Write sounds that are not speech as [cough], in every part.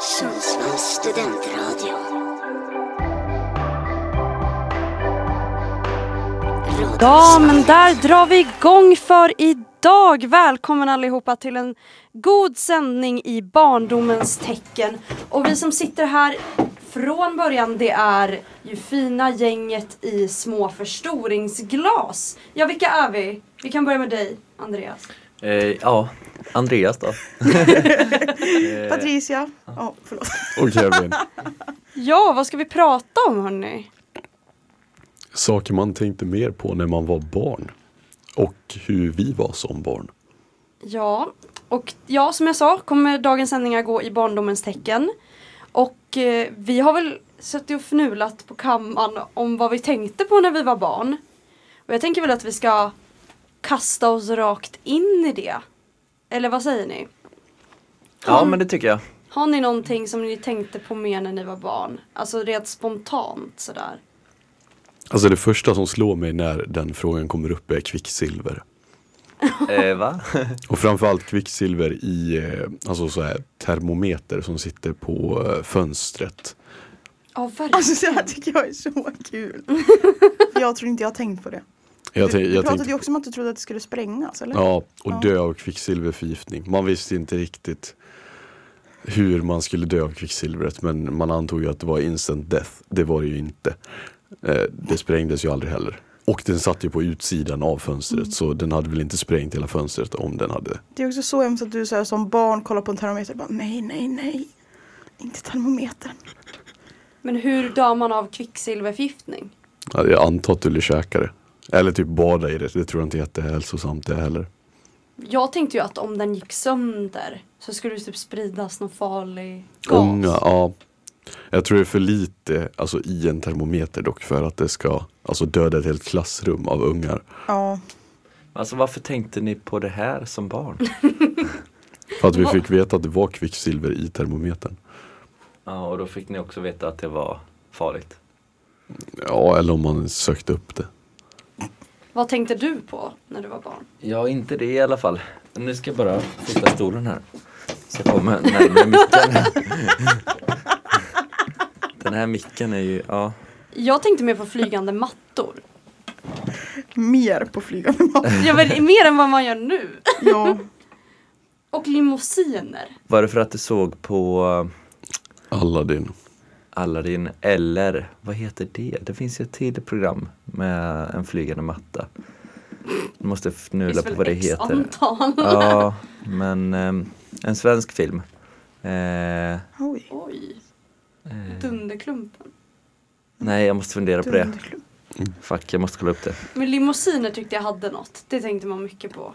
Sundsvalls studentradio. Radio Ja, men Sundsvall. där drar vi igång för idag. Välkommen allihopa till en god sändning i barndomens tecken. Och vi som sitter här från början, det är ju fina gänget i små förstoringsglas. Ja, vilka är vi? Vi kan börja med dig, Andreas. Eh, ja, Andreas då. eh, Patricia. Ja, förlåt. [laughs] Och Kevin. Ja, vad ska vi prata om hörni? Saker man tänkte mer på när man var barn. Och hur vi var som barn. Ja, och ja, som jag sa kommer dagens sändningar gå i barndomens tecken. Och eh, vi har väl suttit och fnulat på kammaren om vad vi tänkte på när vi var barn. Och jag tänker väl att vi ska kasta oss rakt in i det. Eller vad säger ni? ja, Mm. men det tycker jag. Har ni någonting som ni tänkte på mer när ni var barn? Alltså rent spontant sådär. Alltså det första som slår mig när den frågan kommer upp är kvicksilver. [laughs] Eh, va? Och framförallt kvicksilver i eh, alltså så här, termometer som sitter på eh, fönstret. Ja, verkligen. Alltså det här tycker jag är så kul. Jag tror inte jag har tänkt på det. Jag, du, tän- du jag pratade tänkte, ju också om att du trodde att det skulle sprängas eller? ja, Ja. och dö av kvicksilverförgiftning. Man visste inte riktigt hur man skulle dö av kvicksilvret men man antog ju att det var instant death. Det var det ju inte. Eh, Det sprängdes ju aldrig heller. Och den satt ju på utsidan av fönstret Mm. så den hade väl inte sprängt hela fönstret om den hade. Det är också så hemskt att du så här, som barn kollar på en termometer och bara nej, nej, nej. Inte termometern. Men hur dör man av kvicksilverförgiftning? Ja, Jag antar att du ville käka det. Eller typ bada i det. Det tror jag inte är jättehälsosamt det heller. Jag tänkte ju att om den gick sönder så skulle det typ spridas någon farlig gas. Ånga, ja. Jag tror det är för lite alltså, i en termometer dock för att det ska alltså, döda ett helt klassrum av ungar. Ja, [laughs] Alltså varför tänkte ni på det här [laughs] som barn? För att vi Vad- fick veta att det var kvicksilver i termometern. Ja, och då fick ni också veta att det var farligt. Ja, eller om man sökte upp det. Vad tänkte du på när du var barn? Ja, inte det i alla fall. Nu ska jag bara flytta stolen här. Så jag kommer närmare micken. [laughs] Den här micken är ju, ja. Jag tänkte mer på [laughs] flygande mattor. mer på flygande [laughs] mat. Jag vill, mer än vad man gör nu. Ja. Och limousiner. Var det för att du såg på eh, Aladdin. Aladdin eller vad heter det? Det finns ju ett till program med en flygande matta. Du måste Det fnula finns på väl vad det X heter. antal. Ja, men ehm, en svensk film. Eh, Oj. Oj. Mm. Dunderklumpen. nej, jag måste fundera på det. Dunderklump. Fuck, jag måste kolla upp det. Men limousiner tyckte jag hade något. Det tänkte man mycket på.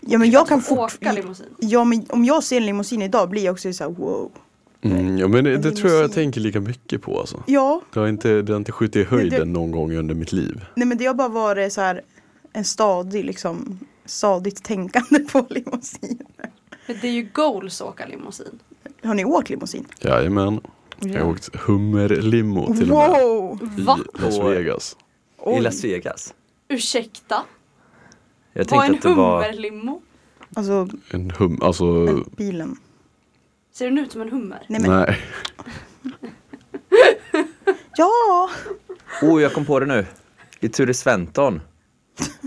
Ja men jag kan fort... Åka limousin. Ja men om jag ser en limousin idag blir jag också så här wow. Mm, ja, men det, det tror jag jag Limousin. tänker lika mycket på alltså. Ja, Det har inte, det har inte skjutit i Men det- höjden någon gång under mitt liv. nej men det har bara varit så här en stadig liksom stadigt tänkande [laughs] på limousin. Men det är ju goals att åka limousin. Har ni åkt limousin? Jajamän. Jag har åkt hummerlimo till och med. Wow! Mm. Va? I Las Oj. Vegas. I Oj. Las Vegas. Ursäkta? Jag Vad tänkte en att det var... hummerlimo? Alltså En hum, alltså, Men bilen. Ser den ut som en hummer? Nej men nej. ja! Oh, jag kom på det nu. I Ture Sventon.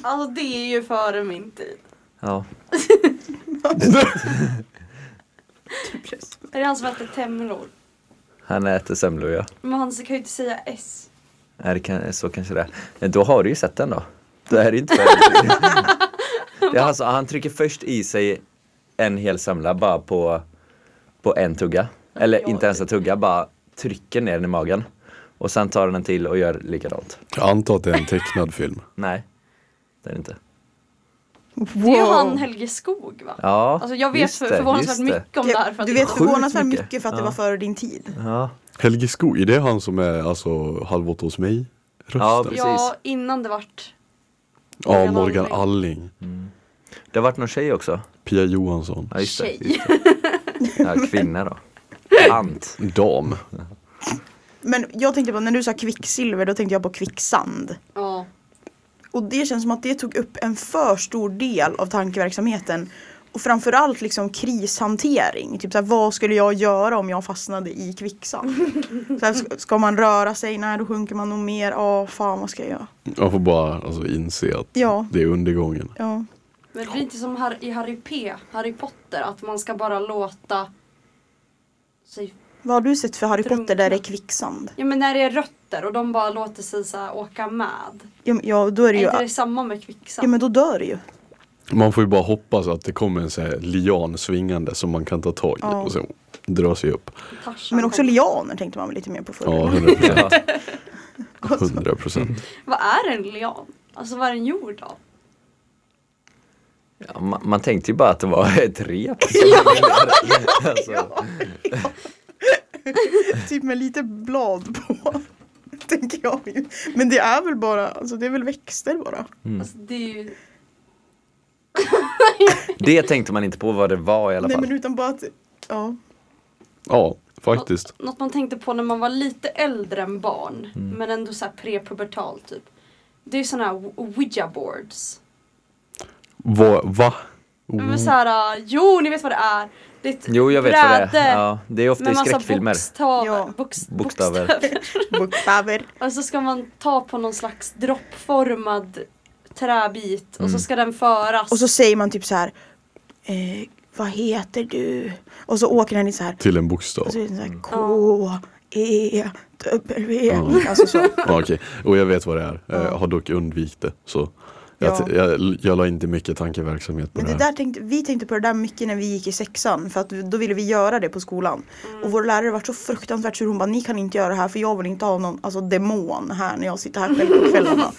Alltså det är ju före min tid. Ja. Är det han som äter temlor? Han äter semlor ja. Men han kan ju inte säga S. Nej, det kan, så kanske det är. Men Då har du ju sett den då. Det här är inte färdigt. [laughs] det är alltså, han trycker först i sig en hel semla bara på, på en tugga. Eller Ja, inte ens en tugga, bara trycker ner den i magen. Och sen tar han en till och gör likadant. Jag antar att det är en tecknad film. Nej, det är det inte. Det är ju Wow. han Helge Skog va? Ja, Alltså jag vet just för, det, förvånansvärt just det. mycket om det, här. För Det, att du vet jag- förvånansvärt mycket. mycket. för att det Ja. var före din tid. Ja, Helge Skog, är det han som är alltså halv åtta hos mig? Rösten? precis. Ja, Ja, innan det vart. ja, Morgan Morgan Alling. det har varit någon tjej också. Pia Johansson. Ja, just det, Tjej. just det. Ja, [laughs] kvinna då. Ant. Dam. Men jag tänkte på när du sa kvicksilver då tänkte jag på kvicksand. Ja. Och det känns som att det tog upp en för stor del av tankeverksamheten. Och framförallt liksom krishantering. Typ så här, vad skulle jag göra om jag fastnade i [laughs] kvicksand? så här, sk- ska man röra sig? Nej, då sjunker man nog mer. Ja, fan vad ska jag göra? Man får bara alltså, inse att Ja. det är undergången. Ja. Men det är inte som Har- i Harry P, Harry Potter, att man ska bara låta sig... Vad har du sett för Harry Drunkna. Potter där det är kvicksand? Ja men när det är rötter och de bara låter sig så här åka med. Ja, men- ja då är Är det ju... inte det samma med kvicksand? Ja men då dör det ju. Man får ju bara hoppas att det kommer en sån här lian svingande som man kan ta tag i Ja. och så dra sig upp. Tarzan Men också själv. lianer tänkte man väl lite mer på [laughs] förr. Ja, 100 procent. Ja. [laughs] 100 procent. Vad är en lian? Alltså vad är den gjord av? Ja, man, man tänkte ju bara att det var [laughs] ett rep. Ja. alltså, Typ med lite blad på. [laughs] Tänker jag ju. Men det är väl bara, alltså det är väl växter bara. Mm. Alltså det är ju... det tänkte man inte på vad det var i alla Nej men fall. utan bara att, ja. Ja, faktiskt. Något man tänkte på när man var lite äldre än barn, Mm. men ändå så här prepubertal typ. Det är såna här ou- ouija boards. Va? va? Men så här, äh, jo ni vet vad det är. Det är ett Oh. Jo, jag vet vad det är. bräde alltså, Ja, det är ofta med i massa skräckfilmer. bokstav, Ja. box, Bokstäver. bokstäver. Bokstäver. [laughs] Och så ska man ta på någon slags droppformad träbit och Mm. så ska den föras. Och så säger man typ så här. Eh, vad heter du? Och så åker den i så här. Till en bokstav. Och så är det så här K, E, W. Ja. Alltså så. Ja, okej. Och jag vet vad det är. Jag har dock undvikit det. Så jag, Ja. jag, jag la inte mycket tankeverksamhet på Men det det här. där tänkte, vi tänkte på det där mycket när vi gick i sexan för att då ville vi göra det på skolan. Mm. Och vår lärare var så fruktansvärt sur. Hon bara ni kan inte göra det här för jag vill inte ha någon alltså, demon här när jag sitter här [laughs] själv på kvällarna.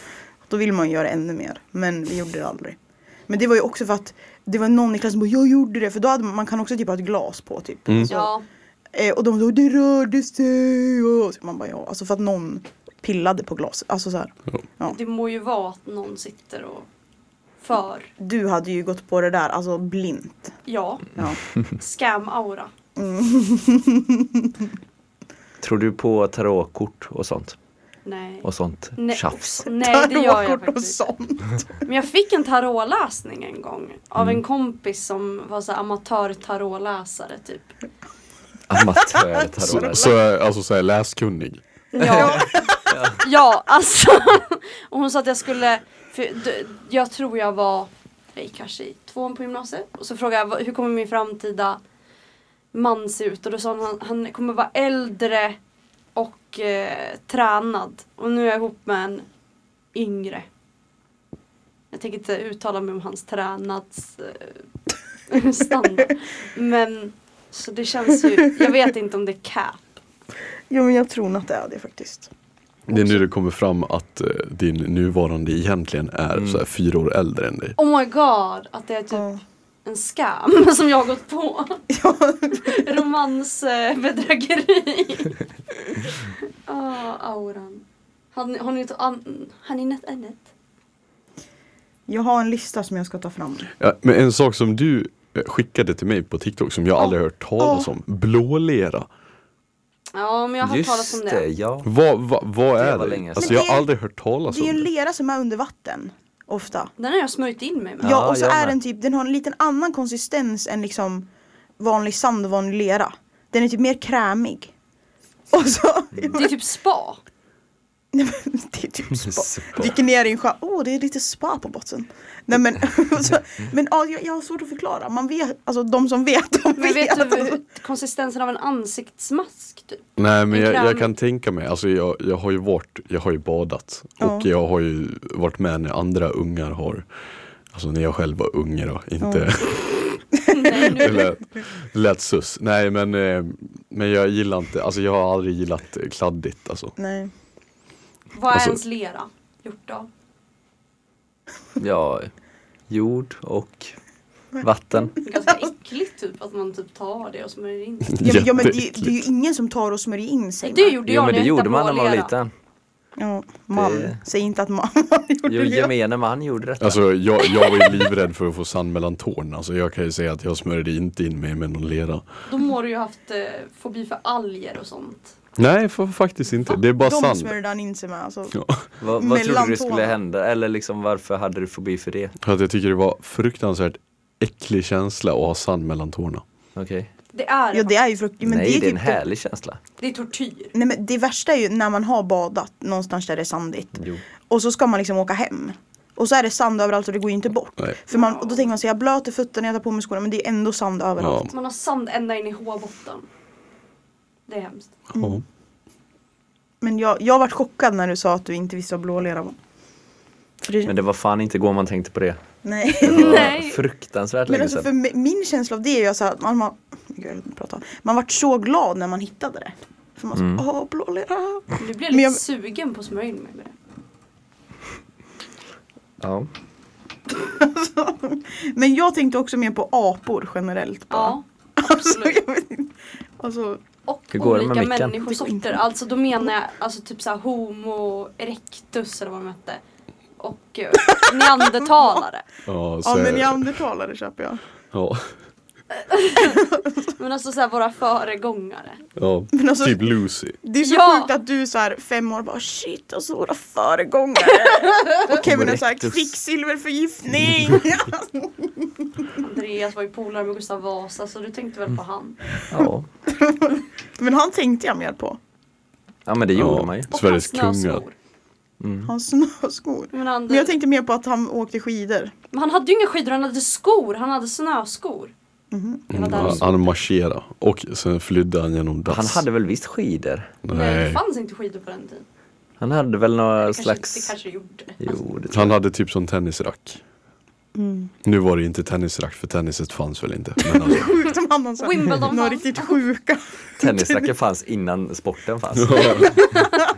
då vill man ju göra ännu mer. Men vi gjorde det aldrig. Men det var ju också för att det var någon i klassen som bara jag gjorde det för då hade man, man kan också typ ha ett glas på typ. Så. Ja, Eh, och de sa det rörde sig. Och så man bara ja alltså för att någon pillade på glaset. Alltså så här. det må ju vara att någon sitter och för, Du hade ju gått på det där alltså blint. ja, Ja. Mm. scam-aura. Tror du på tarotkort och sånt? Nej. Och sånt Nej. [laughs] tjafs? Nej [laughs] det gör jag Tarotkort och faktiskt inte. sånt. Men jag fick en tarotläsning en gång av en kompis som var så här amatör tarotläsare typ. Så, Amatörtarot. så, eh, alltså så här, läskunnig. Ja, ja alltså. Och hon sa att jag skulle, för d- jag tror jag var, jag gick kanske i tvåan på gymnasiet. Och så frågade jag "Vad- hur kommer min framtida man se ut? Och då sa hon han, han kommer vara äldre och eh, tränad. Och nu är jag ihop med en yngre. Jag tänker inte uttala mig om hans tränads eh, [laughs] standard. Men så det känns ju, jag vet inte om det är cap. Jo men jag tror nog att det är det faktiskt. Typ. Det är nu det kommer fram att eh, din nuvarande egentligen är Mm. så här, fyra år äldre än dig. Oh my god, att det är typ Ja. en scam [laughs] som jag har gått på. [laughs] Romansbedrägeri. Ah, auran. Har ni, har ni något an- har ni något annat? Jag har en lista som jag ska ta fram. Ja, men en sak som du eh, skickade till mig på TikTok som jag aldrig hört talas om. Blålera. Ja, men jag har hört talas om Just det. det, ja. Vad, vad, vad är var det? länge sedan. Alltså Men jag det har är- aldrig hört talas Det är ju om en det. lera som är under vatten. Ofta. Den har jag smörjt in mig med. Ja, Ja, och så jag är med. den typ, den har en liten annan konsistens än liksom vanlig sand och vanlig lera. Den är typ mer krämig. Och så, Det är typ spa. [laughs] nej men det är typ spa. Spa. Dyker ner i en sjö, åh det är lite spa på botten. Nej men, [laughs] och så, men ja, jag, jag har svårt att förklara. Man vet, alltså de som vet, de Men vet vet. du hur- konsistensen av en ansiktsmask typ? Nej men en jag, jag kräm. kan tänka mig, alltså jag, jag har ju varit, jag har ju badat och Ja. jag har ju varit med när andra ungar har Alltså när jag själv var unge då, inte Nej, [laughs] nu. det lät, det lät sus. Nej men, eh, men jag gillar inte, alltså jag har aldrig gillat eh, kladdigt alltså. [laughs] Nej. Vad är Alltså- ens lera gjort av? ja. Jord och vatten. Ganska äckligt typ att man typ tar det och smörjer in sig. Ja, men- ja men det, det är ju Jätteäckligt. ingen som tar och smörjer in sig. Det med. gjorde Jo jag men när det jag gjorde hittade man när man var blålera. liten. Ja, man. Det- Säg inte att [laughs] man, man gjorde Jo, det. gemene man gjorde detta. Alltså jag, jag var ju livrädd för att få sand mellan tårna, alltså jag kan ju säga att jag smörjde inte in mig med någon lera. Då må du ju haft eh, fobi för alger och sånt. Nej fa- faktiskt inte, det är bara De sand. smörjde han in sig med. Alltså. Ja. vad vad trodde mellan du tårna. skulle hända? Eller liksom varför hade du fobi för det? För att jag tycker det var fruktansvärt äcklig känsla att ha sand mellan tårna. Okej. Det är, Jo det är ju fruktansvärt. Men Nej, det är, det är en typ härlig känsla. det är tortyr. Nej men det värsta är ju när man har badat någonstans där det är sandigt. Jo. Och så ska man liksom åka hem. Och så är det sand överallt och det går ju inte bort. Nej. För man, och då tänker man sig jag blöter fötterna, jag tar på mig skorna men det är ändå sand överallt. Ja. Man har sand ända in i hårbotten. Det är hemskt. Mm. Ja. Men jag, jag vart chockad när du sa att du inte visste vad blålera var. För det, Men det var fan inte igår man tänkte på det. nej. Det var Nej. fruktansvärt Men länge alltså för sedan. mi- min känsla av det är ju alltså att man, man, gud, jag vill inte prata. man vart så glad när man hittade det. För man mm. åh blålera. Nu blir jag Men lite jag- sugen på att smörja in mig med det. Ja. Men jag tänkte också mer på apor generellt bara. Ja. Alltså, absolut. [laughs] jag vet inte. Alltså, Och Hur går det med olika micken? människosorter. Alltså då menar jag alltså typ såhär homo erectus eller vad de hette. Och eh, neandertalare. Ja, så ja men är, ja. neandertalare köper jag. Ja, Men alltså såhär våra föregångare. Men alltså- typ Lucy. Det är så Ja. sjukt att du så här fem år bara shit alltså [laughs] våra föregångare. Och Kevin har sagt Erectus. kvicksilverförgiftning. [laughs] Andreas var ju polare med Gustav Vasa så du tänkte Mm. väl på han. Ja. men han tänkte jag mer på. ja, men det gjorde man ju. Och Sveriges hans kungar. snöskor. Hans snöskor. Men, han, Men jag tänkte mer på att han åkte skidor. men han hade ju inga skidor, han hade skor. Han hade snöskor. Mhm. Det var där Mm, Ja, det stod. Han marscherade och sen flydde han genom dass. Han hade väl visst skidor? Nej, det Nej. fanns inte skidor på den tiden. Han hade väl några Kanske, Det slags... kanske det gjorde. Jo, det tror Han hade typ som tennisrack. Mm. Nu var det inte tennisrack för tenniset fanns väl inte. [laughs] Men alltså, Sjukt om han har så här- Wimbledon några vann. riktigt sjuka. [laughs] jag. Tennisracket fanns innan sporten fanns.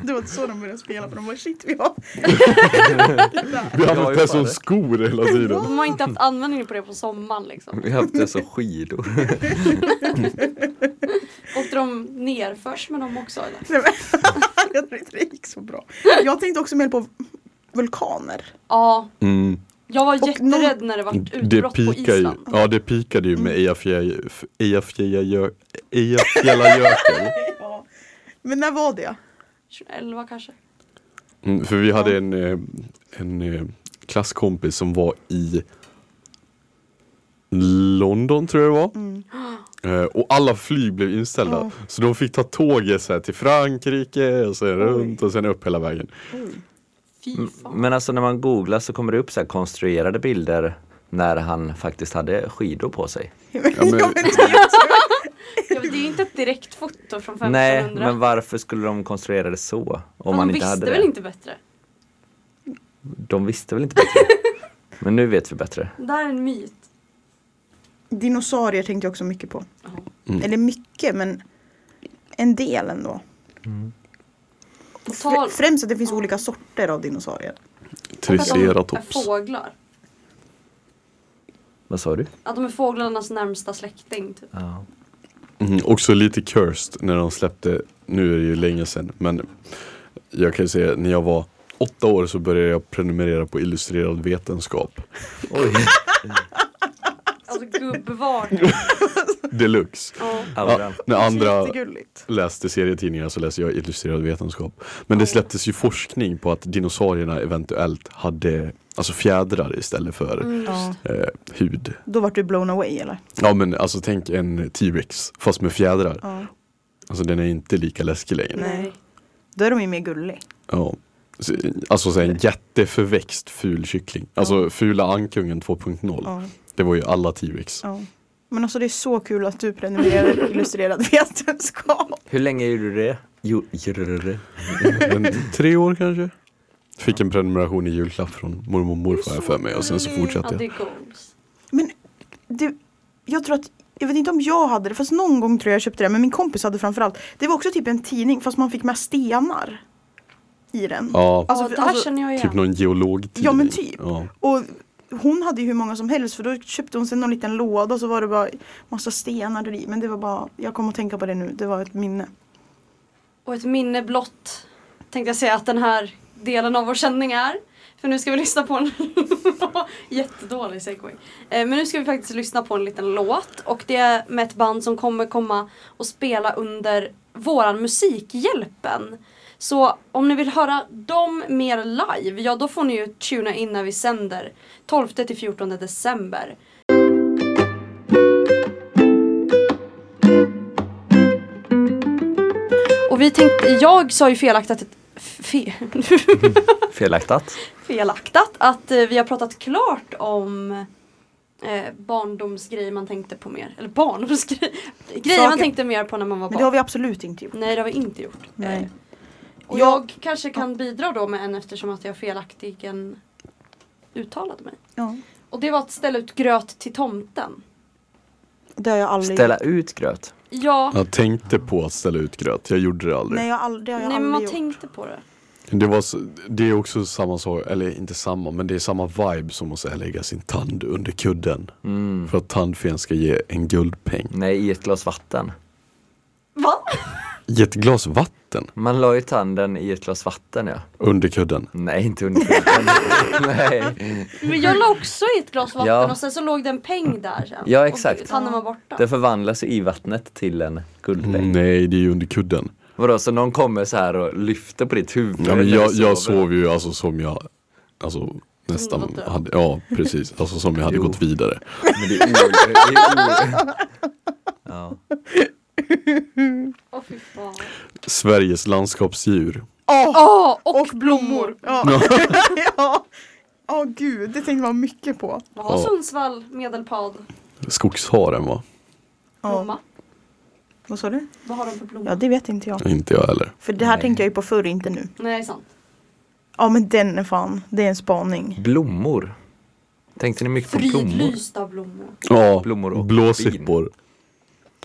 Det var inte så de började spela för de var shit vi har. [laughs] vi har Jag har haft ju det fan som det. skor hela tiden. De har inte haft användning på det på sommaren liksom. [laughs] Vi har haft det som skidor. Åkte de ner först med dem också eller? Nej, men, jag tror inte det gick så bra. Jag tänkte också mer på vulkaner. Ja, Mm. jag var Och jätterädd när det var Det utbrott på pikar ju, Island. ja det pikade ju med Eyjafjä- Eyjafjällajö- Eyjafjallajökull. Ja. Men när var det? 2011 kanske. Mm, För vi hade en, eh, en eh, klasskompis som var i London tror jag det var. Eh, Och alla flyg blev inställda. Ja. Så de fick ta tåget så här, till Frankrike och sen runt och sen upp hela vägen. Fy fan. Men alltså när man googlar så kommer det upp så här konstruerade bilder när han faktiskt hade skidor på sig. [laughs] Ja, men- Jag vet inte. Ja, men det är ju inte ett direkt foto från 1500. Nej, men varför skulle de konstruera det så? Om de man inte visste hade väl det. inte bättre? De visste väl inte bättre? [laughs] Men nu vet vi bättre. Det här är en myt. Dinosaurier tänkte jag också mycket på. Ja. Mm. Eller mycket men en del ändå. På Fr- tal främst att det finns olika sorter av dinosaurier. om att de är Triceratops. fåglar. Vad sa du? Att de är fåglarnas närmsta släkting. Typ. Ja. Mm, också lite cursed när de släppte, nu är det ju länge sedan, men jag kan ju säga när jag var åtta år så började jag prenumerera på Illustrerad Vetenskap Oj, Alltså gubbvarning. deluxe. Ja. auran. när andra Jättegulligt. läste serietidningar så läste jag Illustrerad Vetenskap. Men det släpptes ju forskning på att dinosaurierna eventuellt hade alltså fjädrar istället för Mm. Ja. eh, hud. Då vart du blown away eller? Ja men alltså tänk en T-rex fast med fjädrar. Ja. Alltså den är inte lika läskig längre. Nej. Då är de ju mer gullig. Ja. Så- Alltså så en jätteförväxt ful kyckling. Alltså fula ankungen 2.0. Ja. Det var ju alla T-rex. Ja. Men alltså det är så kul att du prenumererar på illustrerad [laughs] vetenskap. Hur länge gjorde du det? Jo, gjorde du det? Men tre år kanske? Fick en prenumeration i julklapp från mormor och morfar har jag för mig och sen så Mm, Ja, fortsatte det jag. är goals. Men det, jag tror att, jag vet inte om jag hade det, fast någon gång tror jag jag köpte det, men min kompis hade framförallt. Det var också typ en tidning fast man fick med stenar i den. Ja, Alltså, ja, det här alltså, känner jag igen. typ någon geologtidning. Ja, men typ. Ja. Och hon hade ju hur många som helst för då köpte hon sig någon liten låda och så var det bara massa stenar där i. Men det var bara, jag kommer att tänka på det nu, det var ett minne. Och ett minne blott tänkte jag säga att den här delen av vår sändning är. För nu ska vi lyssna på en [laughs] jättedålig segway. Eh, Men nu ska vi faktiskt lyssna på en liten låt och det är med ett band som kommer komma och spela under våran Musikhjälpen. Så om ni vill höra dem mer live, ja då får ni ju tuna in när vi sänder 12 till 14 december. Och vi tänkte, jag sa ju felaktigt, fe, Felaktat. felaktat att eh, vi har pratat klart om eh, barndomsgrejer man tänkte på mer. Eller barndomsgrejer, [laughs] grejer man Saker. tänkte mer på när man var Men barn. det har vi absolut inte gjort. Nej det har vi inte gjort. Eh, Och jag, Jag- kanske kan bidra då med en eftersom att jag felaktigen uttalade mig. Ja. Och det var att ställa ut gröt till tomten. Det har jag aldrig Ställa gjort. ut gröt. Ja, Jag tänkte på att ställa ut gröt, jag gjorde det aldrig. Nej, jag har aldrig, det har jag nej men aldrig man gjort. tänkte på det. Det, var, så- det är också samma sak, eller inte samma, men det är samma vibe som att så här lägga sin tand under kudden. För att tandfen ska ge en guldpeng. Nej, i ett glas vatten. Va? Ge ett glas vatten Man la ju tanden i ett glas vatten ja. under kudden. Nej, inte under [laughs] skjortan. Nej. Men jag la också i ett glas vatten Ja. och sen så låg det en peng där sen. Ja, exakt. Och tanden var borta. Det förvandlas ju i vattnet till en guldpeng. Nej, det är ju under kudden. Vadå, så någon kommer så här och lyfter på ditt huvud? Ja, men när jag, du jag sover? sov ju alltså som jag alltså, nästan Låter. hade, ja precis, alltså som jag hade Jo. gått vidare. Men det är o- det är o- ja. Åh fy fan. Sveriges landskapsdjur. Åh, Åh, och, blommor! blommor! Ja. [laughs] ja. Åh gud, det tänkte man mycket på. Vad har Ja. Sundsvall, Medelpad, Skogsharen va? Ja. Bromma? Vad sa du? Vad har de för blommor? Ja, det vet inte jag. Inte jag heller. För det här Nej. tänkte jag ju på förr, inte nu. Nej, sant. Ja, men den är fan, det är en spaning. Blommor. Tänkte ni mycket på blommor? Fridlysta blommor. Ja, Blommor och blåsippor.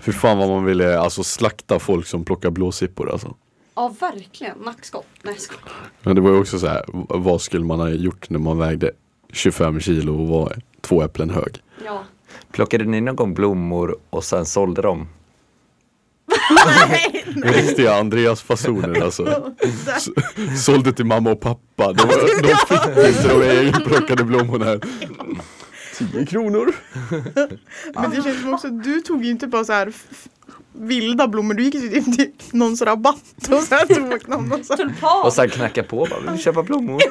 Fy fan vad man ville alltså, slakta folk som plockar blåsippor alltså. Ja, verkligen. Nackskott. Nej, jag skojar. Men det var ju också så här, v- vad skulle man ha gjort när man vägde 25 kilo och var två äpplen hög? Ja. Plockade ni någon gång blommor och sen sålde dem? Riktiga Andreas-fasoner alltså. [laughs] S- sålde till mamma och pappa. De, de fick inte de egenplockade blommorna. 10 kronor. Men det känns som också, du tog ju inte bara så här f- f- vilda blommor, du gick ju typ till någons rabatt och så här tog någon och så här. Tulpan! Och sen knacka på bara, vill du köpa blommor?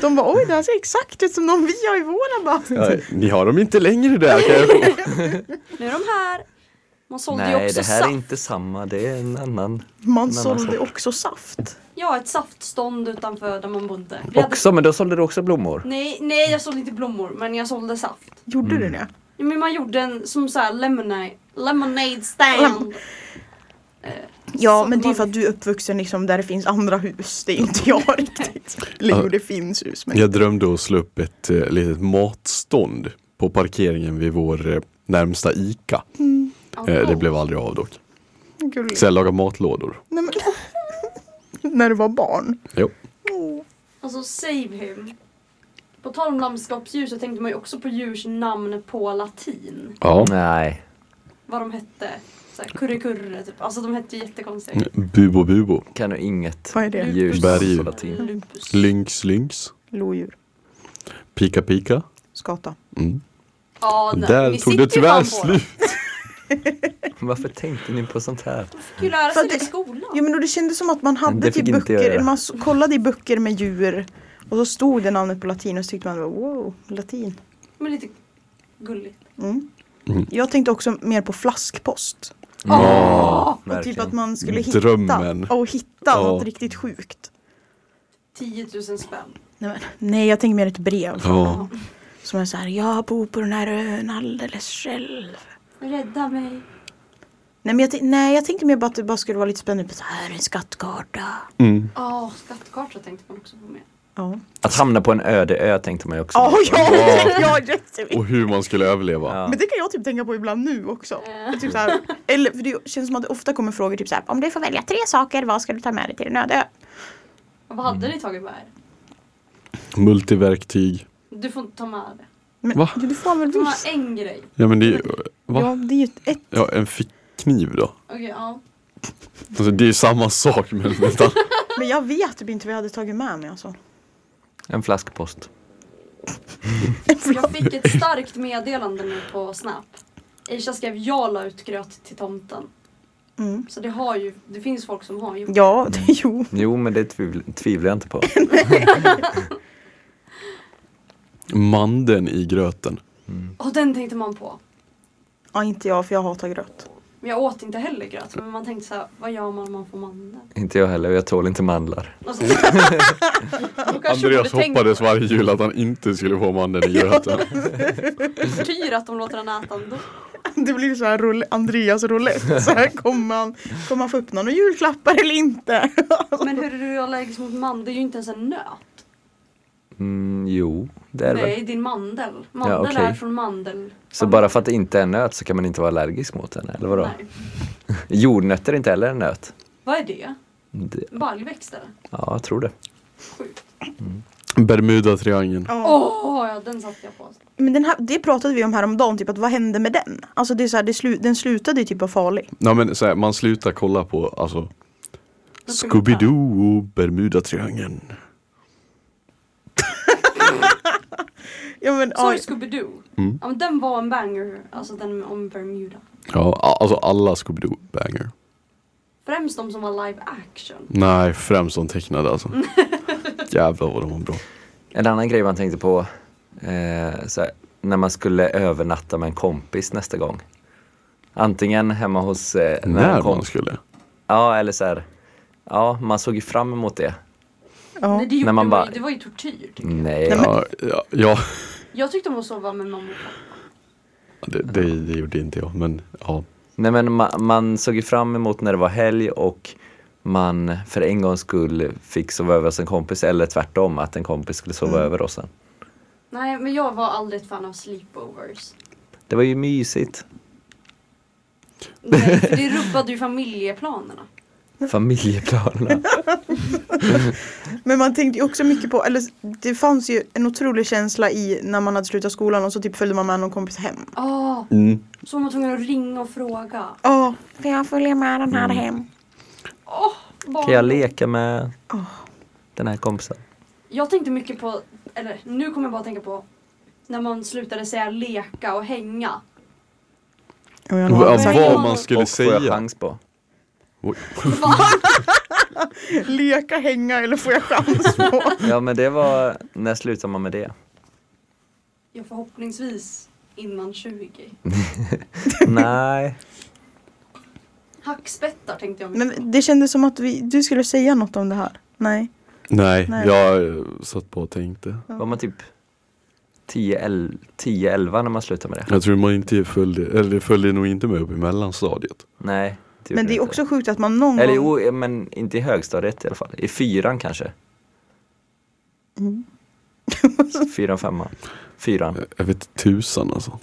De bara oj, det här ser exakt ut som de vi har i våra bara. Nej, ni har dem inte längre där kan jag få. Nu är de här. Man sålde ju Nej, också det här är saft. inte samma, det är en annan. Man annan sålde sort. också saft. Ja, ett saftstånd utanför där man bodde. Vi hade... Också, men då sålde du också blommor? Nej, nej, jag sålde inte blommor, men jag sålde saft. Gjorde du det? Ja, Men man gjorde en som så här lemonade, lemonade stand. Lem- Ja, Så men det är man- ju för att du är uppvuxen liksom där det finns andra hus. Det är inte jag riktigt. [laughs] Eller jo, det finns hus. Men... Jag drömde att slå upp ett eh, litet matstånd på parkeringen vid vår eh, närmsta ICA. Eh, det blev aldrig av dock. Gulligt. Så jag lagade matlådor. Nej, men... [laughs] När du var barn. Jo. Åh. Alltså save him. På tal om landskapsdjur så tänkte man ju också på djurs namn på latin. Ja. Nej. Vad de hette. Så här, curre curre typ. Alltså de hette ju jättekonstigt. Bubo bubo. Kan du inget Vad är det? ljus? Berguv. latin? Lupus. Lynx lynx. Lodjur. Pika pika. Skata. Mm. Ja, nej. Där Vi tog sitter det ju tyvärr fan på dem. slut. Varför tänkte ni på sånt här? fick ju lära För sig att det i det- skolan. Ja, men då det kändes som att man Men det hade fick typ inte jag böcker. göra. Man s- kollade i böcker med djur. Och så stod det namnet på latin och så tyckte man wow, latin. Men lite gulligt. Mm. Mm. Jag tänkte också mer på flaskpost. Åh! Och typ att man skulle hitta, Drömmen. och hitta Ja. något riktigt sjukt. 10 000 spänn. Nej, men, nej, jag tänker mer ett brev. Ja. Som är så här, jag bor på den här ön alldeles själv. Rädda mig. Nej, men jag, tänk- nej, jag tänkte mer bara att det bara skulle vara lite spännande. Så här, en skattkarta. Mm. Ja, skattkarta tänkte man också på med. Ja. Att hamna på en öde ö tänkte man ju också. Ja, på. ja, det- [laughs] ja jättemycket. Och hur man skulle överleva. Ja. Men det kan jag typ tänka på ibland nu också. Typ så här, eller för det känns som att det ofta kommer frågor typ så här, om du får välja tre saker, vad ska du ta med dig till din öde ö? Och vad Mm. hade ni tagit med er? Multiverktyg. Du får inte ta med det. Men, Va? ja, Du får väl Du får ha visst. en grej. Ja men det är ju- Ja, Va? det är ju ett- ett. Ja en fickkniv då. Okej, ja. Alltså det är ju samma sak men vänta. Men jag vet typ inte vad jag hade tagit med mig alltså. En flaskpost. Jag fick ett starkt meddelande nu på Snap. Aisha skrev jag la ut gröt till tomten. Mm. Så det har ju, det finns folk som har gjort. Ja, det, [laughs] jo. Jo, men det tvivl- tvivlar jag [laughs] inte på. Mandeln i gröten. Och den tänkte man på. Ja, inte jag för jag hatar gröt. [laughs] Men jag åt inte heller gröt. Men man tänkte så här, vad gör man om man får mandel? Inte jag heller, jag tål inte mandlar. Alltså, då kanske Andreas borde tänkt hoppades varje jul att han inte skulle få mandeln i gröten. tortyr att de låter den äta ändå. Det blir så här roule- Andreas roulette. Så här kommer han, kommer han få upp några julklappar eller inte? [laughs] Men hur är du allergisk mot mandel? Det är ju inte ens en nöt. Mm, jo, det är det väl. Nej, din mandel. Mandel okej. är från mandel. Så bara för att det inte är en nöt så kan man inte vara allergisk mot den, eller vadå? Nej. Jordnötter är inte heller en nöt. Vad är det? Det, Baljväxt eller? ja, jag tror det. Sjukt. Bermuda-triangeln. Ja. Åh, ja, den satte jag på. Men den här, det pratade vi om häromdagen, typ att vad hände med den? Alltså det är så här, det slu, den slutade ju typ vara farlig. Nej men så här, man slutar kolla på alltså Då ska vi ta- Scooby-Doo och Bermuda-triangeln. Ja, men, Sa du aj. Scooby-Doo? Mm. Ja, men den var en banger, alltså den om Bermuda. Ja, a- alltså alla Scooby-Doo-banger. Främst de som var live action. Nej, främst de tecknade alltså. Jävlar vad de var bra. En annan grej man tänkte på, eh, så här, när man skulle övernatta med en kompis nästa gång. Antingen hemma hos eh, en När kom- man skulle. Ja, eller så här, ja, man såg ju fram emot det. Ja. Nej, det, gjorde När man man bara- ju, det var ju tortyr. tycker jag. Nej, Nej, men- Ja, ja, ja. Jag tyckte om att sova med mamma och pappa. Det, det, det gjorde inte jag men ja. Nej men man, man såg ju fram emot när det var helg och man för en gångs skull fick sova över hos en kompis eller tvärtom att en kompis skulle sova Mm. över oss sen. Nej, men jag var aldrig ett fan av sleepovers. Det var ju mysigt. Nej, för det rubbade ju familjeplanerna. Mm. [laughs] Familjeplanerna. Men man tänkte ju också mycket på, eller det fanns ju en otrolig känsla i när man hade slutat skolan och så typ följde man med någon kompis hem. Åh, Mm. Ah, så var man tvungen att ringa och fråga. Ja, kan jag följa med den här hem? Åh, barn. Kan jag leka med den här kompisen? Jag tänkte mycket på, eller nu kommer jag bara tänka på när man slutade säga leka och hänga. Och jag V- har vad- sagt, alltså, vad man skulle och får jag säga. chans på? Oj. Va? leka, hänga eller får jag [laughs] chans på? Ja men det var, när slutar man med [laughs] det? Jag förhoppningsvis innan 20. Nej. Hackspettar tänkte jag mycket på. Men det kändes som att vi, du skulle säga något om det här. Nej. Nej, Nej. jag eh, satt på och tänkte. Var man typ 10-11 när man slutade med det? Jag tror man inte följde, eller följde nog inte med upp i mellanstadiet. Nej. gjorde Men det är inte. också sjukt att man någon Eller gång... jo, men inte i högstadiet i alla fall. I fyran kanske. fyran, femman. Fyran. Jag vet tusan alltså.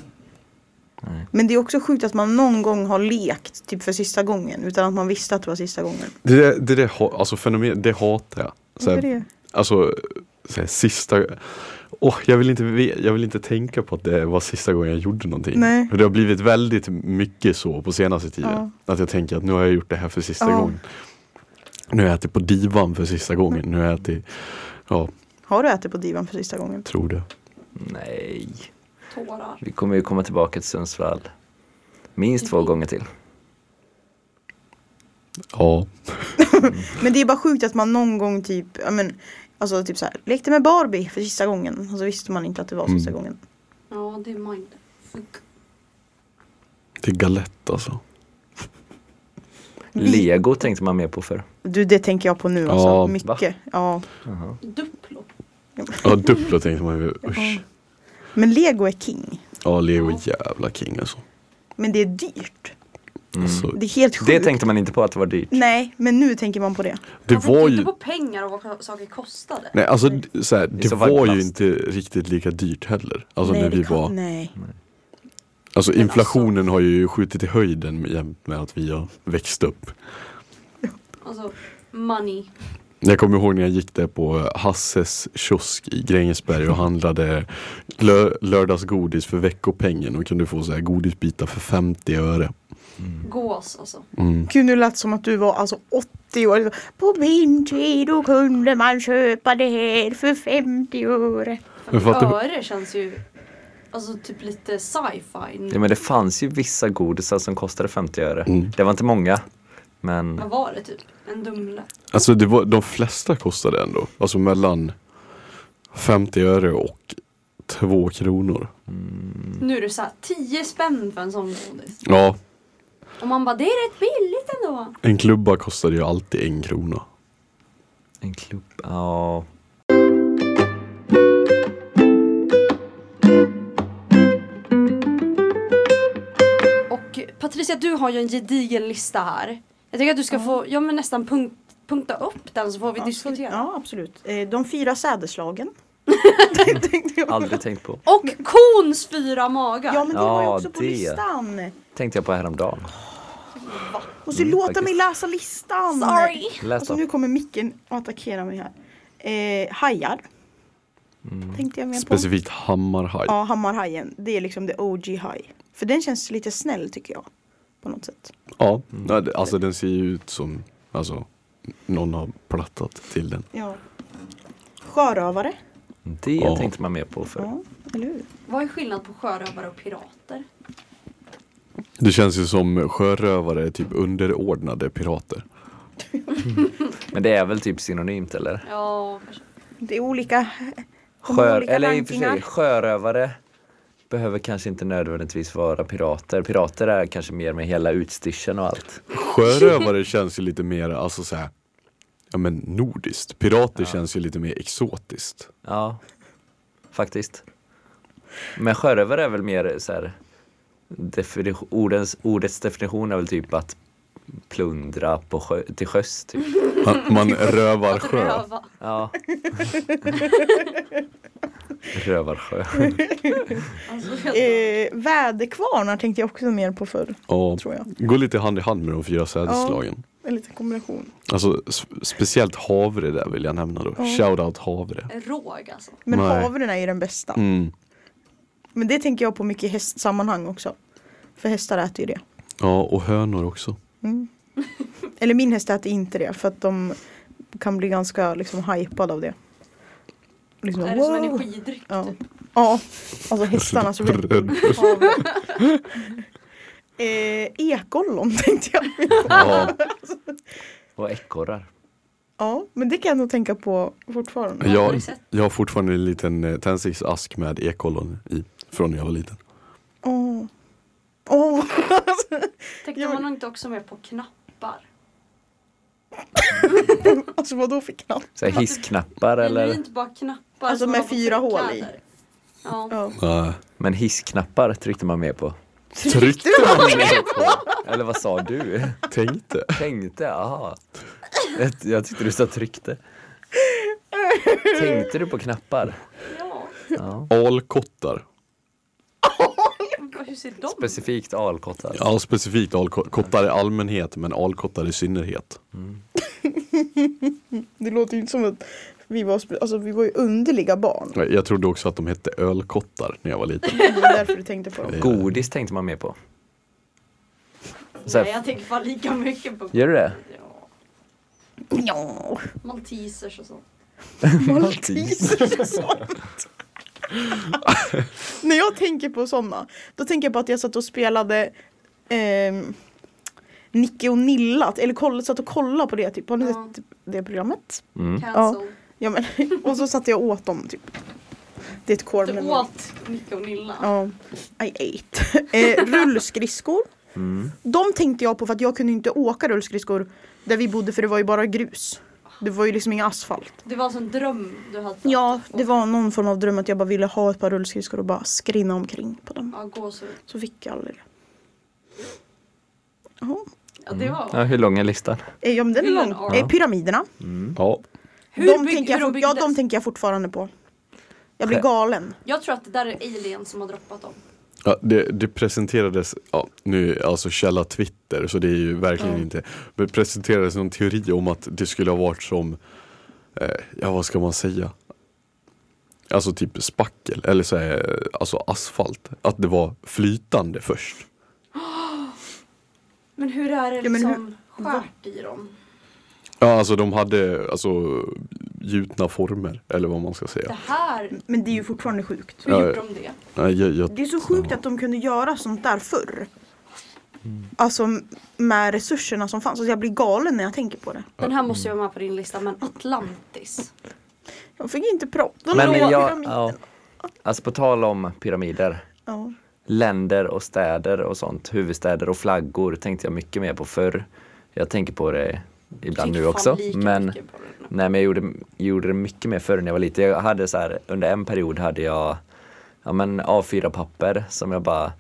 Men det är också sjukt att man någon gång har lekt typ för sista gången utan att man visste att det var sista gången. Det, där- det, det, alltså fenomen, det hatar jag. Så här, Varför det? Alltså, så här, sista... Åh, jag, vill inte, ve- jag vill inte tänka på att det var sista gången jag gjorde någonting. Nej. För det har blivit väldigt mycket så på senaste tiden. Att jag tänker att nu har jag gjort det här för sista Ja. gången. Nu har jag ätit på divan för sista gången. Nu har jag ätit, ja, Har du ätit på divan för sista gången? tror det. Nej. Tårar. Vi kommer ju komma tillbaka till Sundsvall. Minst två gånger till. Ja. Men det är bara sjukt att man någon gång typ, ja men Alltså typ såhär, lekte med Barbie för sista gången och så visste man inte att det var sista gången. Ja, det är mindfuck. Det är galett alltså. Lego tänkte man mer på förr. Du det tänker jag på nu Ja, alltså, va? mycket. Ja. Duplo. Ja, Duplo tänkte man ju. Usch. Men lego är king. Ja, Leo är jävla king alltså. Mm. Men det är dyrt. alltså Det är helt sjukt. Det tänkte man inte på att det var dyrt. Nej, men nu tänker man på det. det Man tänkte var inte ju... Alltså, på pengar och vad saker kostade. Nej, alltså d- så här, det så fall var ju plast. inte riktigt lika dyrt heller. Alltså nej, när det vi kan- var... nej. Alltså Men inflationen har ju skjutit i höjden med- jämt med att vi har växt upp. Alltså, money. Jag kommer ihåg när jag gick där på Hasses kiosk i Grängesberg och handlade lö- lördagsgodis för veckopengen och kunde få så här godisbitar för 50 öre. Mm. Gås alltså. Gud nu lät det som att du var alltså 80 år. På min tid då kunde man köpa det här för 50 öre. Men för att det, Öre känns ju alltså typ lite sci-fi. Ja, men det fanns ju vissa godisar som kostade 50 öre. Mm. Det var inte många. Men Vad var det typ? En Dumle? alltså det var, de flesta kostade ändå, alltså mellan 50 öre och 2 kronor. Nu är det såhär 10 spänn för en sån godis. Ja, Och Och man bara, det är rätt billigt ändå. En klubba kostade ju alltid en krona. En klubb, ja. Och Patricia, du har ju en gedigen lista här. Jag tycker att du ska få, ja men nästan punkt, punkta upp den så får vi diskutera. Ja, absolut. Eh, De fyra sädeslagen. [laughs] Tänkte jag. Aldrig tänkt på. Och kons fyra magar. Ja, men det var ju också på Ja, det. listan. Tänkte jag på häromdagen. Måste ju Mm, låta faktiskt. mig läsa listan. Sorry. Läs Alltså då. nu kommer micken att attackera mig här. Eh, hajar. Mm. Tänkte jag mer på. Specifikt hammarhaj. Ja, hammarhajen. Det är liksom the OG haj. För den känns lite snäll tycker jag. På något sätt. Ja, ja, det- alltså den ser ju ut som alltså, någon har plattat till den. Ja. Sjörövare. Det Ja. tänkte man mer på för. Ja, eller hur? Vad är skillnad på sjörövare och pirater? Det känns ju som sjörövare är typ underordnade pirater. Men det är väl typ synonymt eller? Ja, Det är olika. de har Sjör, olika eller i och för sig, rankingar. sjörövare behöver kanske inte nödvändigtvis vara pirater. Pirater är kanske mer med hela utstyrseln och allt. [laughs] Sjörövare känns ju lite mer alltså så här, ja men nordiskt. Pirater känns ju lite mer exotiskt. Ja, faktiskt. Men sjörövare är väl mer så här, definition, ordens, ordets definition är väl typ att plundra på sjö, till sjöss. Typ. Man, [laughs] man rövar sjö. röva. Ja. Rövarsjö. Alltså, jag- Eh, väderkvarnar tänkte jag också mer på förr. Ja, Tror jag. går lite hand i hand med de fyra sädesslagen. En liten kombination. Alltså s- speciellt havre där vill jag nämna då. Shoutout havre. Råg alltså. Men Nej. havren är ju den bästa. Mm. Men det tänker jag på mycket i hästsammanhang också. För hästar äter ju det. Mm. Ja, och hönor också. Eller min häst äter inte det för att de kan bli ganska liksom hypade av det. Liksom, Är det som wow. energidryck Ja. typ? ja, alltså hästarna som [laughs] eh, Ekollon tänkte jag. Ja. Och ekorrar. Ja, men det kan jag nog tänka på fortfarande. har Jag, du sett? jag har fortfarande en liten eh, tändsticksask med ekollon i. Från när jag var liten. Åh. Åh. Alltså, Tänkte Ja, men- man inte också mer på knappar? alltså vadå för knapp? Så här hissknappar Eller? eller? inte bara knappar Alltså, som med man har på fyra hål i. tryckkläder. Ja. Ja. Nej. Men hissknappar tryckte man mer på. Tryckte man ner på? Eller vad sa du? Tänkte. Tänkte, aha. Jag, jag tyckte du sa tryckte. Tänkte du på knappar? ja. Ja. Alkottar. Hur ser de ut? Specifikt alkottar. Ja, specifikt alkottar i allmänhet men alkottar i synnerhet. Det låter ju inte som att vi var, spe- alltså, vi var ju underliga barn. Jag jag trodde också att de hette ölkottar när jag var liten. Det var därför du tänkte på dem. Godis tänkte man mer på. Så Nej, här, jag tänker fan lika mycket på gör du det? ja. Ja, Maltesers och sånt. [laughs] malteser och sånt. [laughs] När jag tänker på sådana, då tänker jag på att jag satt och spelade ehm, Nicke och Nilla, eller koll, satt och kollade på det typ. Har ni Ja. sett det programmet? Mm. Cancel. Ja, men, [laughs] och så satt jag och åt dem typ. Det är ett korv. Du men- åt Micke och Nilla. Ja, I ate. [laughs] Eh, rullskridskor. Mm. De tänkte jag på för att jag kunde inte åka rullskridskor där vi bodde för det var ju bara grus. Det var ju liksom ingen asfalt. Det var alltså en dröm du hade. Ja, det var någon form av dröm att jag bara ville ha ett par rullskridskor och bara skrinna omkring på dem. Ja, gåshud. Så fick jag aldrig det. Jaha. Ja, det var... Ja, hur lång är listan? Eh, Ja men den är Vilken lång. art? Eh, pyramiderna. Mm. Ja, Hur de bygg- tänker jag, hur de fort- ja, byggdes? de tänker jag fortfarande på. Jag blir Själv- galen. Jag tror att det där är alien som har droppat dem. Ja, det, det presenterades, ja, nu alltså källa Twitter så det är ju verkligen inte, men presenterades någon teori om att det skulle ha varit som, eh, ja vad ska man säga? Alltså typ spackel eller så här, alltså asfalt. Att det var flytande först. Men hur är det Ja, men liksom skärt i dem? Ja, alltså de hade alltså gjutna former eller vad man ska Det säga. här, Men det är ju fortfarande sjukt. hur Ja, gjorde ja. de det? Ja, jag, jag, Det är så sjukt att de kunde göra sånt där förr. Mm. Alltså m- med resurserna som fanns. Alltså, jag blir galen när jag tänker på det. Den här måste jag vara med på din lista, men Atlantis. Jag fick inte prata Men om jag, pyramiden. ja, alltså på tal om pyramider. Ja. länder och städer och sånt, huvudstäder och flaggor tänkte jag mycket mer på förr. Jag tänker på det ibland nu också. Men, nej, men jag gjorde, gjorde det mycket mer förr när jag var liten. Jag hade så här, under en period hade jag ja, men A4-papper som jag bara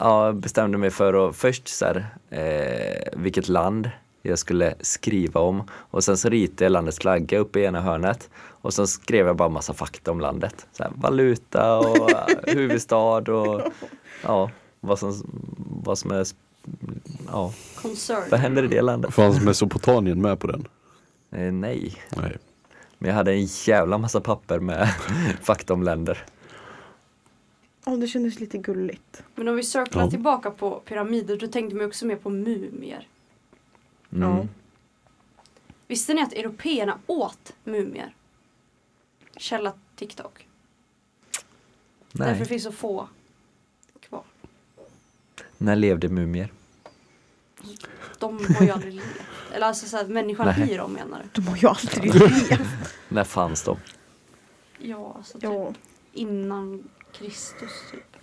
ja, bestämde mig för att först så här, eh, vilket land jag skulle skriva om och sen så ritade jag landets flagga uppe i ena hörnet och sen skrev jag bara massa fakta om landet. Så här, valuta och eh, huvudstad och ja, vad som, vad som är sp- ja, vad Concern. händer i det landet? Fanns Mesopotamien med på den? Eh, nej, Nej. men jag hade en jävla massa papper med [laughs] fakta om länder. Ja, det kändes lite gulligt. Men om vi cirklar Ja. tillbaka på pyramider, då tänkte man ju också mer på mumier. Mm. Ja. Visste ni att européerna åt mumier? Källa TikTok. Därför Nej, finns så få kvar. när levde mumier? De har ju aldrig [laughs] levt. Eller alltså såhär, människan Nej. i dem menar du? De har ju [laughs] aldrig levt. När fanns de? Ja, alltså typ Ja. innan Kristus typ.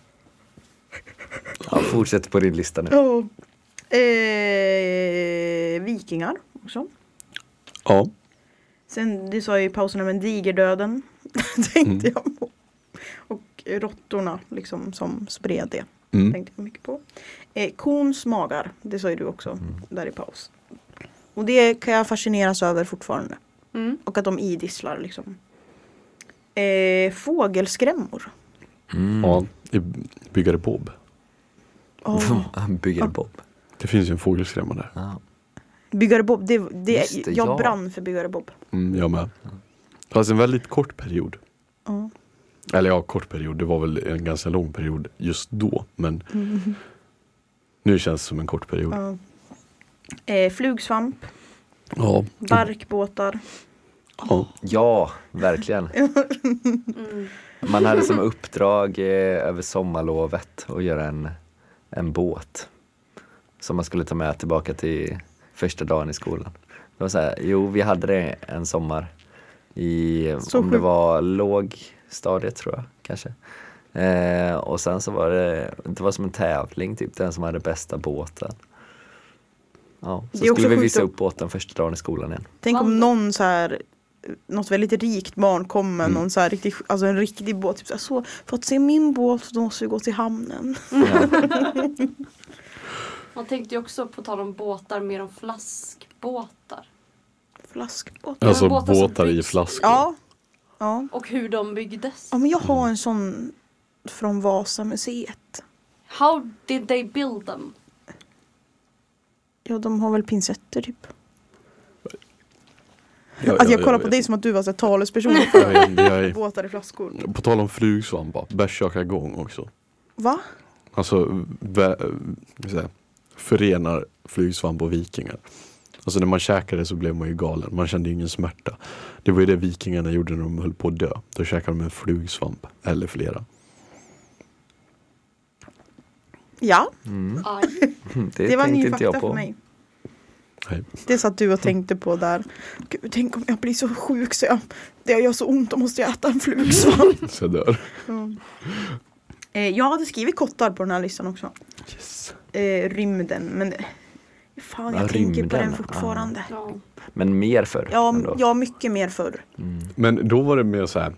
Ja, fortsätt på din lista nu. Ja. Eh, vikingar också. Ja. Sen du sa ju i pauserna men digerdöden [laughs] tänkte Mm. jag på. Och råttorna liksom som spred det. Mm. Tänkte jag mycket på. Eh, kons magar, det sa ju du också Mm. där i paus. Och det kan jag fascineras över fortfarande. Mm. Och att de idisslar liksom. Eh, fågelskrämmor. ja. I Byggare Bob. Oh. Han bygger Bob. Det finns ju en fågelskrämma där. Ja. Byggare Bob, det, det, Just det, jag ja. brann för Byggare Bob. Mm, jag med. Fast en väldigt kort period. Ja. Eller ja, kort period. Det var väl en ganska lång period just då. Men nu känns det som en kort period. Mm. Mm. Ja. Eh, flugsvamp, Ja. barkbåtar. ja. Ja, [laughs] verkligen. Mm. Man hade som uppdrag eh, över sommarlovet att göra en, en båt som man skulle ta med tillbaka till första dagen i skolan. Det var så här, jo, vi hade det en sommar i, Så om det sjukt. var lågstadiet tror jag kanske. Eh, och sen så var det, det var som en tävling typ, den som hade bästa båten. Ja, så Det är också skulle vi sjukt visa att- upp båten första dagen i skolan [laughs] igen. Tänk om Vandring. någon så här något väldigt rikt barn kom Mm. med någon så här riktig, alltså en riktig båt. Typ så, här, så för att se min båt då måste vi gå till hamnen. [laughs] Ja. Man tänkte ju också på tal om båtar, mer om flaskbåtar. Flaskbåt. Ja. Alltså Men båtar som båtar i byggs- flaskor. Ja. ja. Och hur de byggdes. Ja men jag Mm. har en sån från Vasamuseet. How did they build them? Ja de har väl pincetter typ. Ja, Alltså jag ja, kollar på vet. dig som att du var så här [laughs] talesperson Jag för är- jag är- båtar i flaskor. På tal om flugsvampa, bärskökargång också. Va? Alltså vä- vad säger jag? förenar flugsvamp och vikingar. Alltså när man käkade så blev man ju galen, man kände ju ingen smärta. Det var ju det vikingarna gjorde när de höll på att dö. Då käkade de en flugsvamp, eller flera. [laughs] Ja, Mm. Aj. Det, det, var tänkte ny inte jag fakta på. för mig. Nej. Det satt du och tänkte på där. Gud, tänk om jag blir så sjuk så jag, det gör så ont, då måste jag äta en [laughs] flugsvamp. Mm. Så jag dör. Eh, jag hade skrivit kottar på den här listan också. Yes. Eh, rymden, men det- fan Ja, jag tänker på rymden, Ah. den fortfarande. Ja, Ja. Men mer förr. ja, ändå. mycket mer förr. Men då var det mer så här.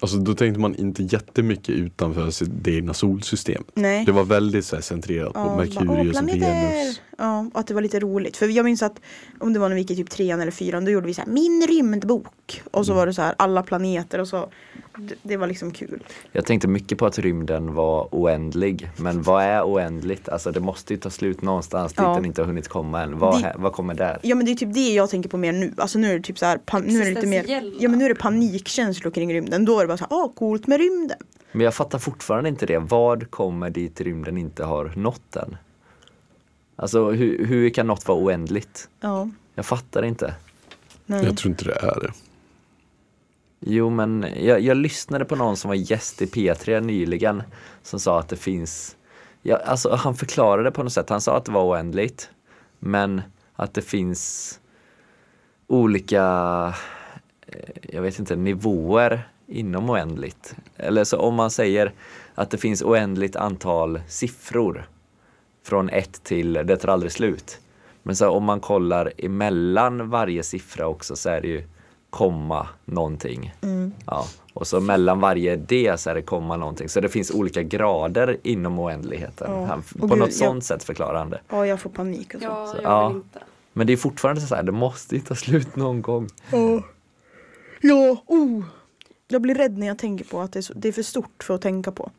Alltså då tänkte man inte jättemycket utanför sitt det egna solsystem. Nej. Det var väldigt så här centrerat på Ja, bara, Eh. "Åh, Merkurius och liksom Venus. Ja, och att det var lite roligt. För jag minns att om det var när vi gick i typ trean eller fyran, då gjorde vi så här min rymdbok. Och Mm. så var det så här alla planeter och så. Det, det var liksom kul. Jag tänkte mycket på att rymden var oändlig. Men vad är oändligt? Alltså det måste ju ta slut någonstans dit Ja. den inte har hunnit komma än. Vad, Det- hä- vad kommer där? Ja men det är typ det jag tänker på mer nu. Alltså nu är det typ så här, pan- nu är det lite mer, Existentiella. ja men nu är det panikkänslor kring rymden. Då är det bara så här, ah coolt med rymden. Men jag fattar fortfarande inte det. Vad kommer dit rymden inte har nått än? Alltså hur, hur kan något vara oändligt? Ja, Jag fattar inte. nej. Jag tror inte det är det. Jo men jag, jag lyssnade på någon som var gäst i P3 nyligen som sa att det finns, ja, alltså han förklarade på något sätt, han sa att det var oändligt men att det finns olika, eh, jag vet inte, nivåer inom oändligt. Eller så om man säger att det finns oändligt antal siffror från ett till det tar aldrig slut. Men så här, om man kollar emellan varje siffra också så är det ju komma någonting. Mm. Ja. Och så mellan varje det så är det komma någonting. Så det finns olika grader inom oändligheten. Ja. Han, Och på gud, något jag- sånt sätt förklarar han det. Ja, jag får panik alltså. Ja, jag [laughs] ja. vill inte. Men det är fortfarande så här, det måste ju ta slut någon gång. Ja. Ja, oh. Jag blir rädd när jag tänker på att det är, så, det är för stort för att tänka på.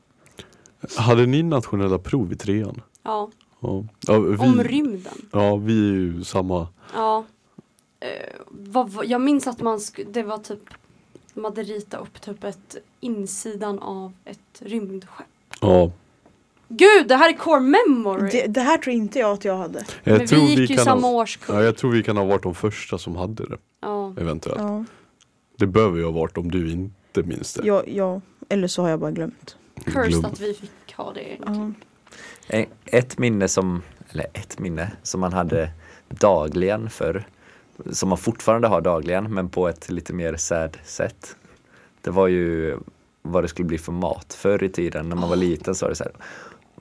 Hade ni nationella prov i trean? Ja. Ja, ja Om vi, rymden. ja, vi är ju samma. Ja. Eh, vad, vad, jag minns att man sk- det var typ de hade ritat upp typ ett insidan av ett rymdskepp. Ja, Gud, det här är core memory! Det, det här tror inte jag att jag hade. jag Men tror vi gick ju kan samma ha, årskurs. Ja, jag tror vi kan ha varit de första som hade det, Ja. eventuellt. Ja. Det behöver ju ha varit om du inte minns det. Ja, ja. Eller så har jag bara glömt. Cursed Glöm. att vi fick ha det. Ja. E- Ett minne som, eller ett minne som man hade dagligen förr, som man fortfarande har dagligen men på ett lite mer sad sätt. Det var ju vad det skulle bli för mat. Förr i tiden när man var liten så var det så här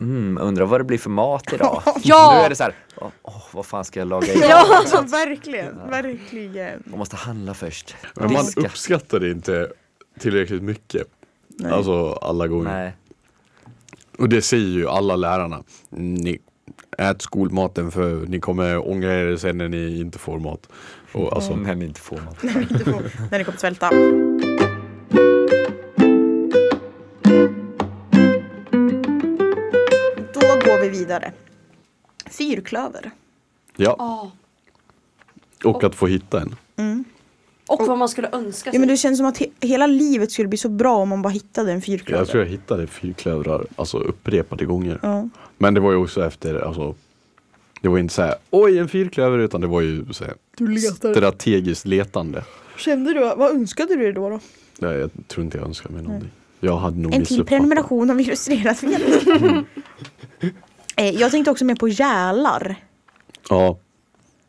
Mm, undrar vad det blir för mat idag? Ja! Nu är det så här, åh, åh, vad fan ska jag laga idag? Ja, alltså, verkligen, verkligen. Man måste handla först. Men man Diska. uppskattar det inte tillräckligt mycket. Nej. Alltså alla gånger. Nej. Och det säger ju alla lärarna. Ni ät skolmaten för ni kommer ångra er sen när ni inte får mat. Och alltså, Som henne inte får mat. Inte på, när det kommer svälta. Då går vi vidare. Fyrklöver. ja. Ja. Och att få hitta en. Och vad man skulle önska sig. Ja, men det känns som att he- hela livet skulle bli så bra om man bara hittade en fyrklöver. Jag tror jag hittade fyrklövrar alltså upprepade gånger. Ja. Men det var ju också efter, alltså, det var inte så här, oj en fyrklöver, utan det var ju så här, Du letar. strategiskt letande. Kände du, vad önskade du dig då? då? Nej, jag tror inte jag önskar mig någonting. Jag hade nog En till missuppfattat. prenumeration av illustrerat vet. [laughs] Eh, Jag tänkte också mer på gälar. Ja,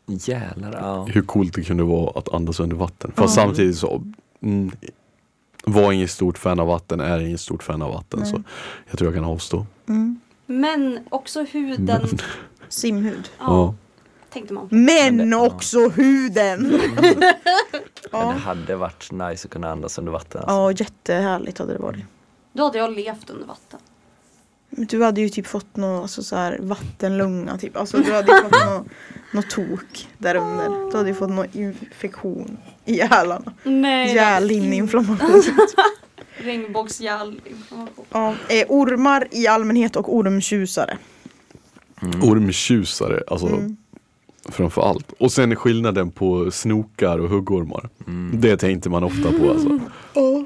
Jävlar, ja. hur coolt det kunde vara att andas under vatten. Fast samtidigt så, mm, var ingen stort fan av vatten, är ingen stort fan av vatten. Så jag tror jag kan avstå. Mm. Men också huden. Simhud. Ja, tänkte man. Men Men det- också huden! Men ja. det hade varit nice att kunna andas under vatten. Alltså. ja, jättehärligt hade det varit. Då hade jag levt under vatten. Men Du hade ju typ fått någon alltså, så här, vattenlunga typ. Alltså du hade ju fått [laughs] något nå tok där under. Du hade ju fått någon infektion i gälarna. Nej. [laughs] Gällinflammation. Regnbågsgällinflammation. Ja, eh, ormar i allmänhet och ormtjusare. Ormtjusare, alltså Mm. framför allt. Och sen skillnaden på snokar och huggormar. Det tänkte man ofta [laughs] på alltså. Ja,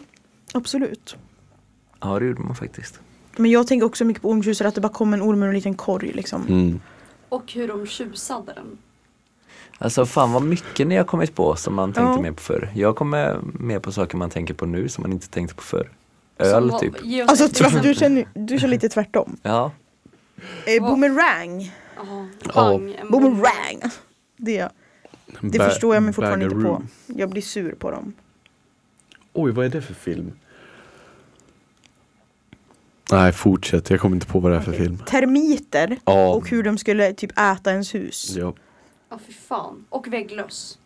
absolut. Ja, det gjorde man faktiskt. Men jag tänker också mycket på ormtjusare, att det bara kom en orm ur en liten korg liksom. Mm. Och hur de tjusade den. Alltså fan vad mycket ni har kommit på som man tänkte Ja. mer på förr. Jag kommer mer på saker man tänker på nu som man inte tänkte på förr. Som Öl var- typ. ge oss Alltså ett exempel. tvärt, du, känner, du känner lite tvärtom. Ja. Eh, Vad? boomerang. Ja, Ja. bang, en Boomerang. Det, det Ba- förstår jag mig fortfarande inte på. Bangaroo. Jag blir sur på dem. Oj, vad är det för film? Nej, fortsätt. Jag kommer inte på vad det är för film. Termiter Ja. och hur de skulle typ äta ens hus. Ja. [laughs] Ja, fy fan. Och vägglöss.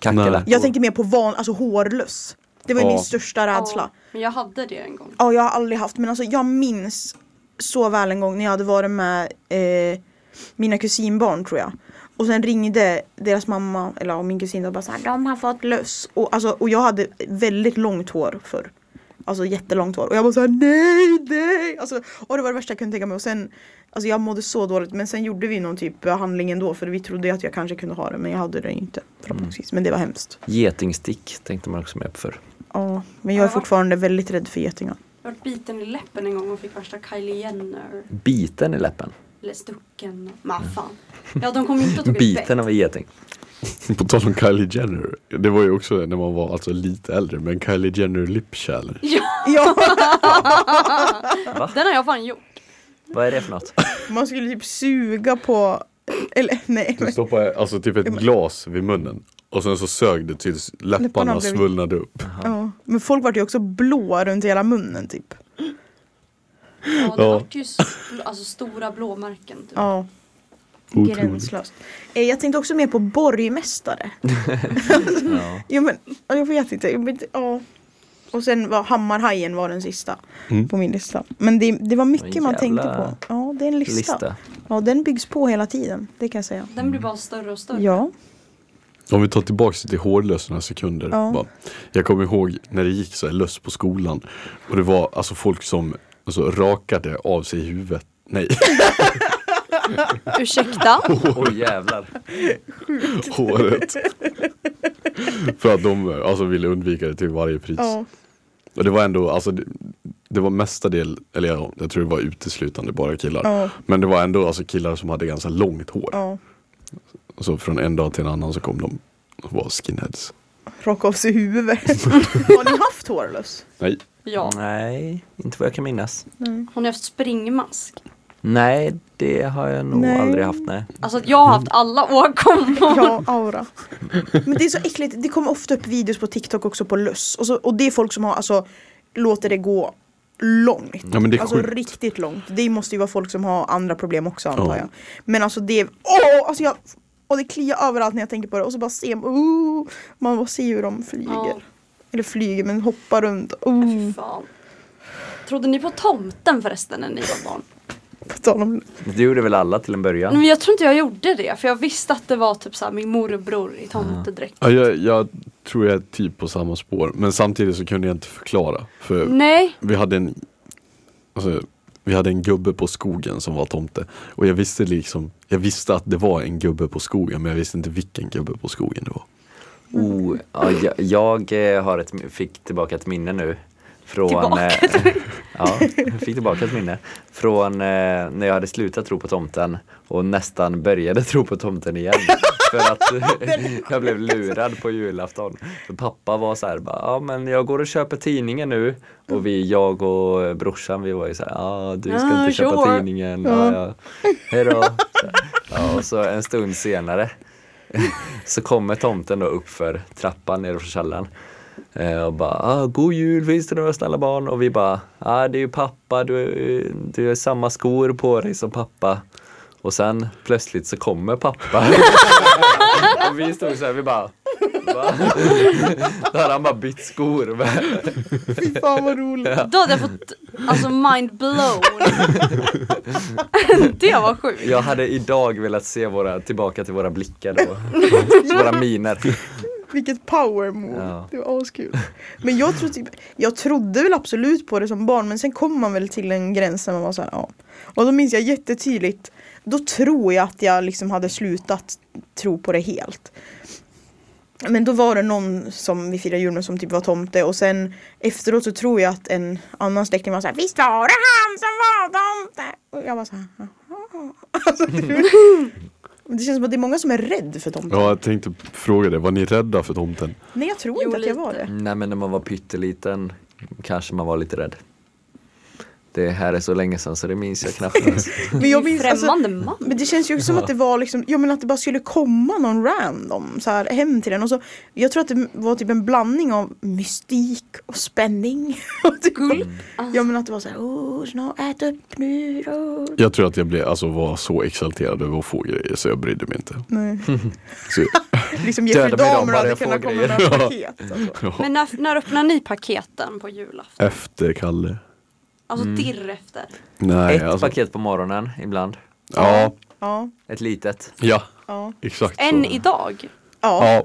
Kackerlackor. Jag tänkte mer på van, alltså hårlöss. Det var ju Ja. min största rädsla. Ja, men jag hade det en gång. Ja, jag har aldrig haft, men alltså jag minns så väl en gång när jag hade varit med eh, mina kusinbarn tror jag. Och sen ringde deras mamma, eller ja, min kusin, och bara såhär, de har fått löss. Och, alltså, och jag hade väldigt långt hår förr. Alltså jättelångt hår. Och jag bara såhär, nej, nej! Alltså, och det var det värsta jag kunde tänka mig. Och sen, alltså jag mådde så dåligt. Men sen gjorde vi någon typ av handling ändå. För vi trodde ju att jag kanske kunde ha det, men jag hade det inte. Förhoppningsvis. Men det var hemskt. Getingstick tänkte man också mer på förr. Ja, men jag är Ja. fortfarande väldigt rädd för getingar. Jag vart biten i läppen en gång och fick värsta Kylie Jenner. Biten i läppen. Eller stucken. Men fan. Ja, de kom ju inte att ta Biten av en geting. På tal om Kylie Jenner. Det var ju också när man var alltså lite äldre. Men Kylie Jenner lip challenge. Ja, Ja! den har jag fan gjort. Vad är det för något? Man skulle typ suga på, eller nej. Du Men, stoppar alltså typ ett glas vid munnen. Och sen så sög det tills läpparna, Läpparna blev- svullnade upp. Ja. Men folk vart ju också blå runt hela munnen typ. Ja, det Ja. vart ju s- alltså, stora blåmärken. Typ. Ja. Otroligt. Gränslöst. Eh, Jag tänkte också mer på borgmästare. [laughs] Ja. [laughs] Ja men ja, jag vet inte. Jag vet, ja. Och sen var Hammarhajen var den sista Mm. på min lista. Men det, det var mycket En man jävla tänkte på. Ja det är en lista. Lista. Ja den byggs på hela tiden. Det kan jag säga. Den blir bara större och större. Ja. Om vi tar tillbaka det till hårlös några sekunder. Ja. Bara. Jag kommer ihåg när det gick så här löss på skolan. Och det var alltså folk som alltså, rakade av sig huvudet. Nej, [laughs] Ursäkta? Oj jävlar. [laughs] håret. För att de alltså, ville undvika det till varje pris. ja. Och det var ändå, alltså det, det var mestadel, eller jag, jag tror det var uteslutande bara killar. Ja. Men det var ändå alltså killar som hade ganska långt hår. ja. Så från en dag till en annan så kom de och var skinheads. Raka av sig huvudet. [laughs] Har ni haft hårlös? Nej, Ja. Nej, inte vad jag kan minnas. Har ni haft springmask? Nej, det har jag nog Nej. aldrig haft. Nej. Alltså jag har haft alla åkommor. Ja, aura. Men det är så äckligt. Det kommer ofta upp videos på TikTok också på löss. Och, så, och det är folk som har, alltså, låter det gå långt. Ja, men det är alltså sjukt. riktigt långt. Det måste ju vara folk som har andra problem också antar Ja. jag. Men alltså det är, åh! Alltså jag, och det kliar överallt när jag tänker på det. Och så bara ser man, oh, man bara ser hur de flyger. Ja. Eller flyger men hoppar runt. Oh, Fy fan. Trodde ni på tomten förresten när ni var barn? på tal om Det gjorde väl alla till en Nej, början? Men jag tror inte jag gjorde det för jag visste att det var typ såhär min morbror i tomtedräkt. ja, jag, jag tror jag är typ på samma spår. Men samtidigt så kunde jag inte förklara. För Nej, vi hade en alltså, vi hade en gubbe på skogen som var tomte. Och jag visste liksom, jag visste att det var en gubbe på skogen men jag visste inte vilken gubbe på skogen det var. Mm. Oh, ja, jag, jag eh, har ett, fick tillbaka ett minne nu. Från, Tillbaka eh, [laughs] Ja, jag fick tillbaka ett minne. Från eh, när jag hade slutat tro på tomten och nästan började tro på [laughs] tomten igen. För att [laughs] jag blev lurad på julafton. För pappa var så här, bara, ja men jag går och köper tidningen nu. Och vi, jag och brorsan, vi var ju så här, ja du ska Ah, inte köpa sure. tidningen. Ja, ja. [laughs] Hejdå. Så här. Ja, och så en stund senare så kommer tomten då upp för trappan nerför källaren. Eh, Och bara, ah, god jul, finns det några snälla barn? Och vi bara, ah, det är ju pappa, du, du har samma skor på dig som pappa. Och sen plötsligt så kommer pappa. [laughs] och vi stod så här, vi bara, va? [laughs] Då hade han bara bytt skor. Fy fan vad roligt. då hade jag fått alltså mind blown. [laughs] det var sjukt. Jag hade idag velat se våra, tillbaka till våra blickar [laughs] då. våra miner. Vilket power move. Ja. Det var askul. Men jag, tror typ, jag trodde väl absolut på det som barn men sen kom man väl till en gräns där man var så här, ja. Och då minns jag jättetydligt, då tror jag att jag liksom hade slutat tro på det helt. Men då var det någon som vi firade jul med som typ var tomte och sen efteråt så tror jag att en annan släkting var så här Visst var det han som var tomte? Och jag var så här, "Jaha." [laughs] alltså, det, det känns som att det är många som är rädd för tomten. Ja, jag tänkte fråga det, var ni rädda för tomten? Nej jag tror Jo, inte att jag var lite. det. Nej men när man var pytteliten kanske man var lite rädd. Det här är så länge sedan så det minns jag [laughs] knappt ens. Men jag minns, alltså, Främmande man. men det känns ju också som att det var liksom, ja men att det bara skulle komma någon random så här hem till den och så Jag tror att det var typ en blandning av mystik och spänning [laughs] och typ, Gull. Ja men att det var så här, åh snart ät upp nu då [laughs] Jag tror att jag blev, alltså, var så exalterad över att få grejer så jag brydde mig inte. Nej, [laughs] Så, liksom Döda Jeffrey mig då, Dahmer bara hade jag får kunnat komma [laughs] med grejer. några paket alltså. ja. Men när, när öppnar ni paketen på julafton? Efter Kalle. Alltså Mm. dirr efter. Nej, Ett alltså, paket på morgonen ibland. ja, Ja, Ett litet. ja, ja, exakt Än så. idag? ja, Ja,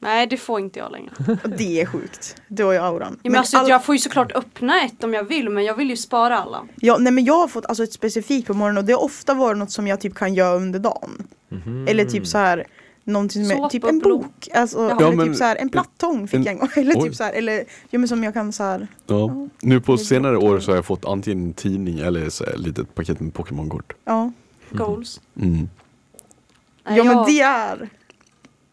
Nej det får inte jag [laughs] längre. det är sjukt Det var ju auran Ja, men alltså, all- Jag får ju såklart öppna ett om jag vill men jag vill ju spara alla. Ja, nej men jag har fått alltså, ett specifikt på morgonen och det har ofta varit något som jag typ kan göra under dagen. Eller typ så här någonting som Såpa är, typ en och blod. bok, alltså, Ja, eller men- typ så här, en plattång fick en- jag en gång. [laughs] Eller Oj. typ så här, eller ja, men som jag kan så här. Ja. Nu på senare år så har jag fått antingen en tidning eller så här litet paket med Pokémon-kort. Ja, Goals. Mm. Nej, ja men jag- det är.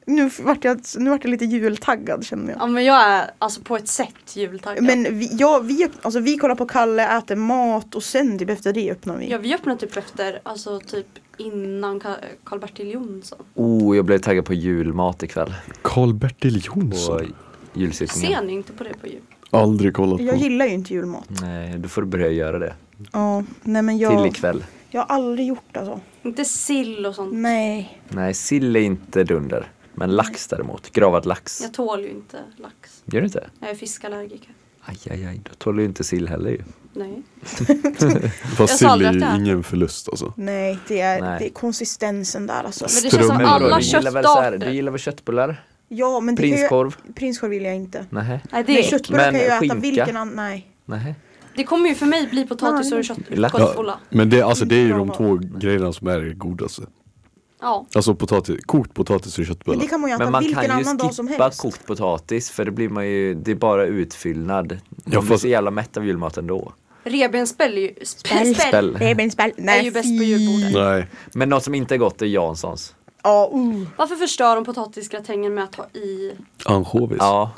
Nu f- vart jag, nu vart jag lite jultaggad känner jag. Ja men jag är alltså på ett sätt jultaggad. Men vi, ja, vi, alltså, vi kollar på Kalle, äter mat och sen typ efter det öppnar vi. Ja vi öppnar typ efter alltså typ innan Ka- Karl-Bertil Jonsson. Oh, jag blev taggad på julmat ikväll. Karl-Bertil På Jonsson? Mm. julsittningen. Ser ni inte på det på jul? Aldrig kollat Jag på. gillar ju inte julmat. Nej, då får du börja göra det. Ja, nej men Till jag, ikväll. jag har aldrig gjort alltså. Inte sill och Mm. sånt. Nej. Nej, sill är inte dunder. Men lax däremot. Gravad lax. Jag tål ju inte lax. Gör du inte? Jag är fiskallergiker. Aj, aj, aj. Då tål du inte sill heller ju. Nej. Fast jag sa sill aldrig är att det ju är. ingen förlust alltså. Nej, det är, Nej. Det är konsistensen där alltså. Men det känns som Strumpor och alla du gillar väl så här, Du köttarter. gillar väl köttbullar? Ja, men det Prinskorv? Kan jag, prinskorv vill jag inte. Nej. Nej, Men det, köttbullar Men kan jag ju äta skinka? vilken annan, nej. Nej. det kommer ju för mig bli potatis och kött, Lax. köttbullar. Men det, alltså, det är ju de Bra. två grejerna som är godaste. Ja. Alltså potatis, kokt potatis och Men köttbullar. det kan man ju Men äta man vilken kan ju annan dag som skippa helst. kokt potatis för det blir man ju, det är bara utfyllnad. Ja, Man blir fast- så jävla mätt av julmat ändå. Revbensspjäll är ju... Spjäll. Späll. Det är min spel. Nej, Är ju bäst på julbordet. Nej. Men något som inte är gott är Janssons. Ja, uh. Varför förstör de potatisgratängen med att ha i... Ansjovis. Ja,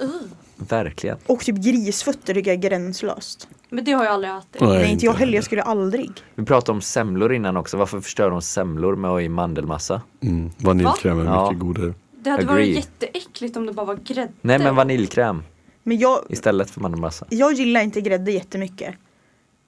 verkligen. Och typ grisfötter tycker jag är gränslöst. Men det har jag aldrig ätit. Nej, Nej, inte jag heller. heller. Jag skulle aldrig. Vi pratade om semlor innan också. Varför förstör de semlor med att ha i mandelmassa? Mm, vaniljkräm är Ja. mycket godare. Det hade Agree. varit jätteäckligt om det bara var grädde. Nej men vaniljkräm Men jag, istället för mandelmassa. jag gillar inte grädde jättemycket.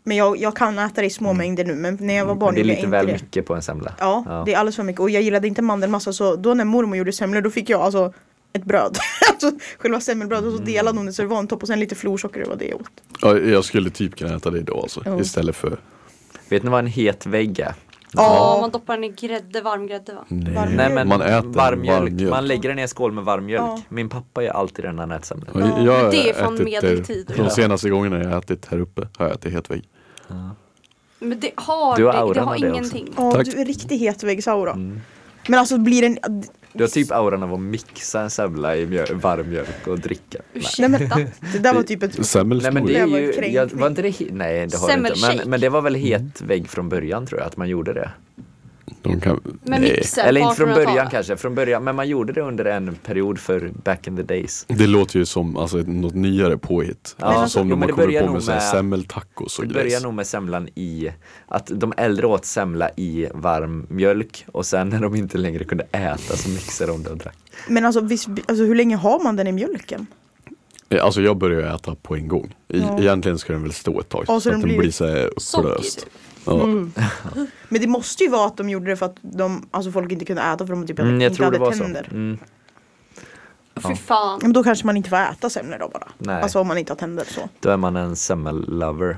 Men jag, jag kan äta det i små mängder nu. Men när jag var barn Mm. Men det är lite gjorde jag inte väl det. mycket på en semla. Ja, det är alldeles för mycket. Och jag gillade inte mandelmassa så då när mormor gjorde semlor då fick jag alltså ett bröd. [laughs] alltså själva semmelbrödet och Mm. så delade hon det så det var en topp och sen lite florsocker det var det jag åt. Ja, jag skulle typ kunna äta det idag alltså. Ja. Istället för Vet ni vad en het vägg är? Ja, Ja. man doppar den i grädde, varm grädde va? Mm. Varm Nej men Man äter varm mjölk. varmmjölk. Man lägger den i en skål med varm mjölk. Ja. Min pappa gör alltid den när han äter semlor. Ja, Ja, jag har det är från ätit medeltid. det. Ja. De senaste gångerna jag har ätit här uppe har jag ätit helt vägg. Men det har, Du har det, det auran har av det ingenting. Ja, Tack. du är riktigt het vägsaura. Mm. Men alltså blir den... Du har typ auran av att mixa en semla i mjöl, varm mjölk och dricka. Nej. Nej, Ursäkta. men, [laughs] det där var typ ett... Nej men det Semmelskor. är Det var en ju, kränkning. jag, var inte det, he- nej det har det inte. Semmelshake. Men, men det var väl het Mm. vägg från början tror jag att man gjorde det. De kan... Med Nej. mixer Eller på inte från 1800-talet. början kanske, från början, men man gjorde det under en period för back in the days. Det låter ju som alltså, ett- något nyare påhitt. Ja. Alltså, Jo, som när men man det kommer börjar på med, nog så här med- semmeltacos och Det börjar grejs. nog med semlan i, att de äldre åt semla i varm mjölk och sen när de inte längre kunde äta så mixade de det och drack. Men alltså, visst, alltså hur länge har man den i mjölken? Eh, Alltså jag börjar ju äta på en gång. I, Ja. Egentligen ska den väl stå ett tag. så så den att den blir blir så här Socker, upplöst. typ. Ja. Men det måste ju vara att de gjorde det för att de, alltså folk inte kunde äta för de typ Mm, jag inte tror det hade var så. tänder. Mm. Fy fan. Men då kanske man inte får äta semlor då bara. Nej. Alltså om man inte har tänder så. Då är man en semmellover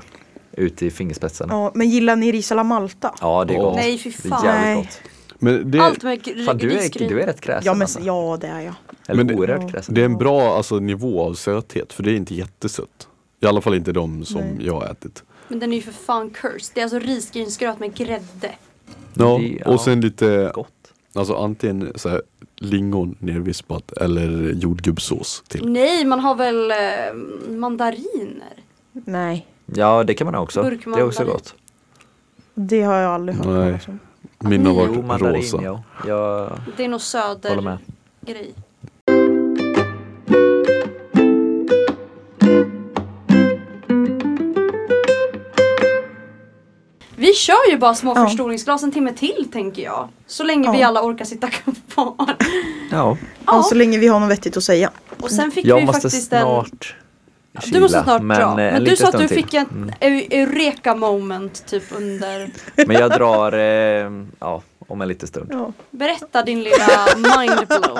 ute i fingerspetsarna. Ja, men gillar ni ris à la Malta? Ja det är Åh. gott. Nej, fy Det fan. är jävligt Nej. gott. Men det, Allt med gr- Fan du är, risgryn. du är rätt kräsen Ja, men, alltså. ja det är jag. Eller Men det- oerhört kräsen. det är en bra alltså, nivå av söthet för det är inte jättesött. I alla fall inte de som Nej. jag har ätit. Men den är ju för fan cursed. Det är alltså risgrynsgröt med grädde. Ja, Det- ja. och sen lite, Gott. alltså antingen så här, lingon nervispat eller jordgubbsås till. Mm. Nej, man har väl eh, mandariner? Nej, Ja det kan man ha också. Burkmandarin. Det är också gott. det har jag aldrig hört Nej. talas om. Min har Mm. Jo, Jo varit mandarin rosa. ja. Jag Det är nog håller med. södergrej. Vi kör ju bara små Ja. förstoringsglas en timme till tänker jag. Så länge Ja. vi alla orkar sitta kvar. Ja. Ja. Så länge vi har något vettigt att säga. Och sen fick vi Jag ju måste faktiskt en... snart Du måste kila, snart men, dra. eh, en Men du liten sa att du stund till. Mm. fick en eu- eureka moment typ under... [laughs] Men jag drar, eh, ja, om en liten stund. Ja. Berätta din lilla mindblow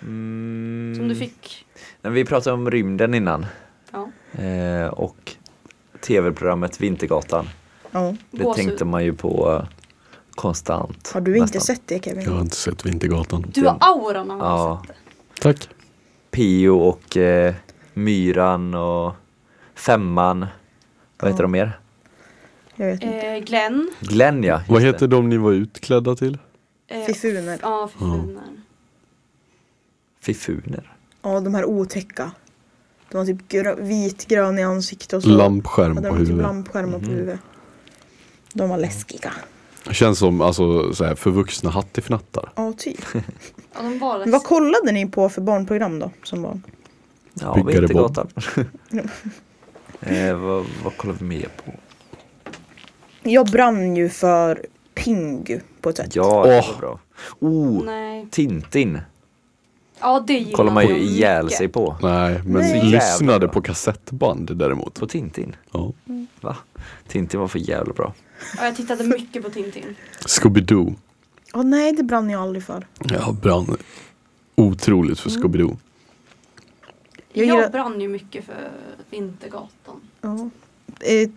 Mm. som du fick. Nej, Vi pratade om rymden innan Ja, eh, och tv-programmet Vintergatan. Ja. Det gåshud. tänkte man ju på eh, konstant. Har du inte nästan. sett det Kevin? Jag har inte sett Vintergatan. Du har auran av Ja. ja. Tack. Pio och eh, Myran och Femman. Vad heter de mer? Jag vet inte. eh, Glenn. Glenn ja. just Vad det. heter de ni var utklädda till? Eh, Fifuner. Ja, fifuner. Fifuner. Ja, de här otäcka. De har typ grö- vitgrön i ansiktet och så. Lampskärm hade på de typ huvudet. Mhm. lampskärmar på huvudet. De var läskiga. Känns som alltså, så här, förvuxna hattifnattar. Ja, typ. Ja, de var Men vad läskiga. kollade ni på för barnprogram då? Som barn? Ja, [laughs] Byggare Vintergatan. eh, vad, vad kollar vi mer på? Jag brann ju för Pingu på ett sätt. Ja, det Åh. var bra. Oh, Nej. Tintin Ja, det gillar kollar man ju jag ihjäl mycket. sig på. Nej, men Nej. lyssnade Jävlar. på kassettband däremot. På Tintin? Ja. Va? Tintin var för jävla bra. Ja, jag tittade mycket på Tintin. Scooby-Doo. Åh nej, det brann jag aldrig för. Jag brann otroligt Mm. för Scooby-Doo. [laughs] Jag Jag, gillar- brann ju mycket för Vintergatan. Ja. Eh,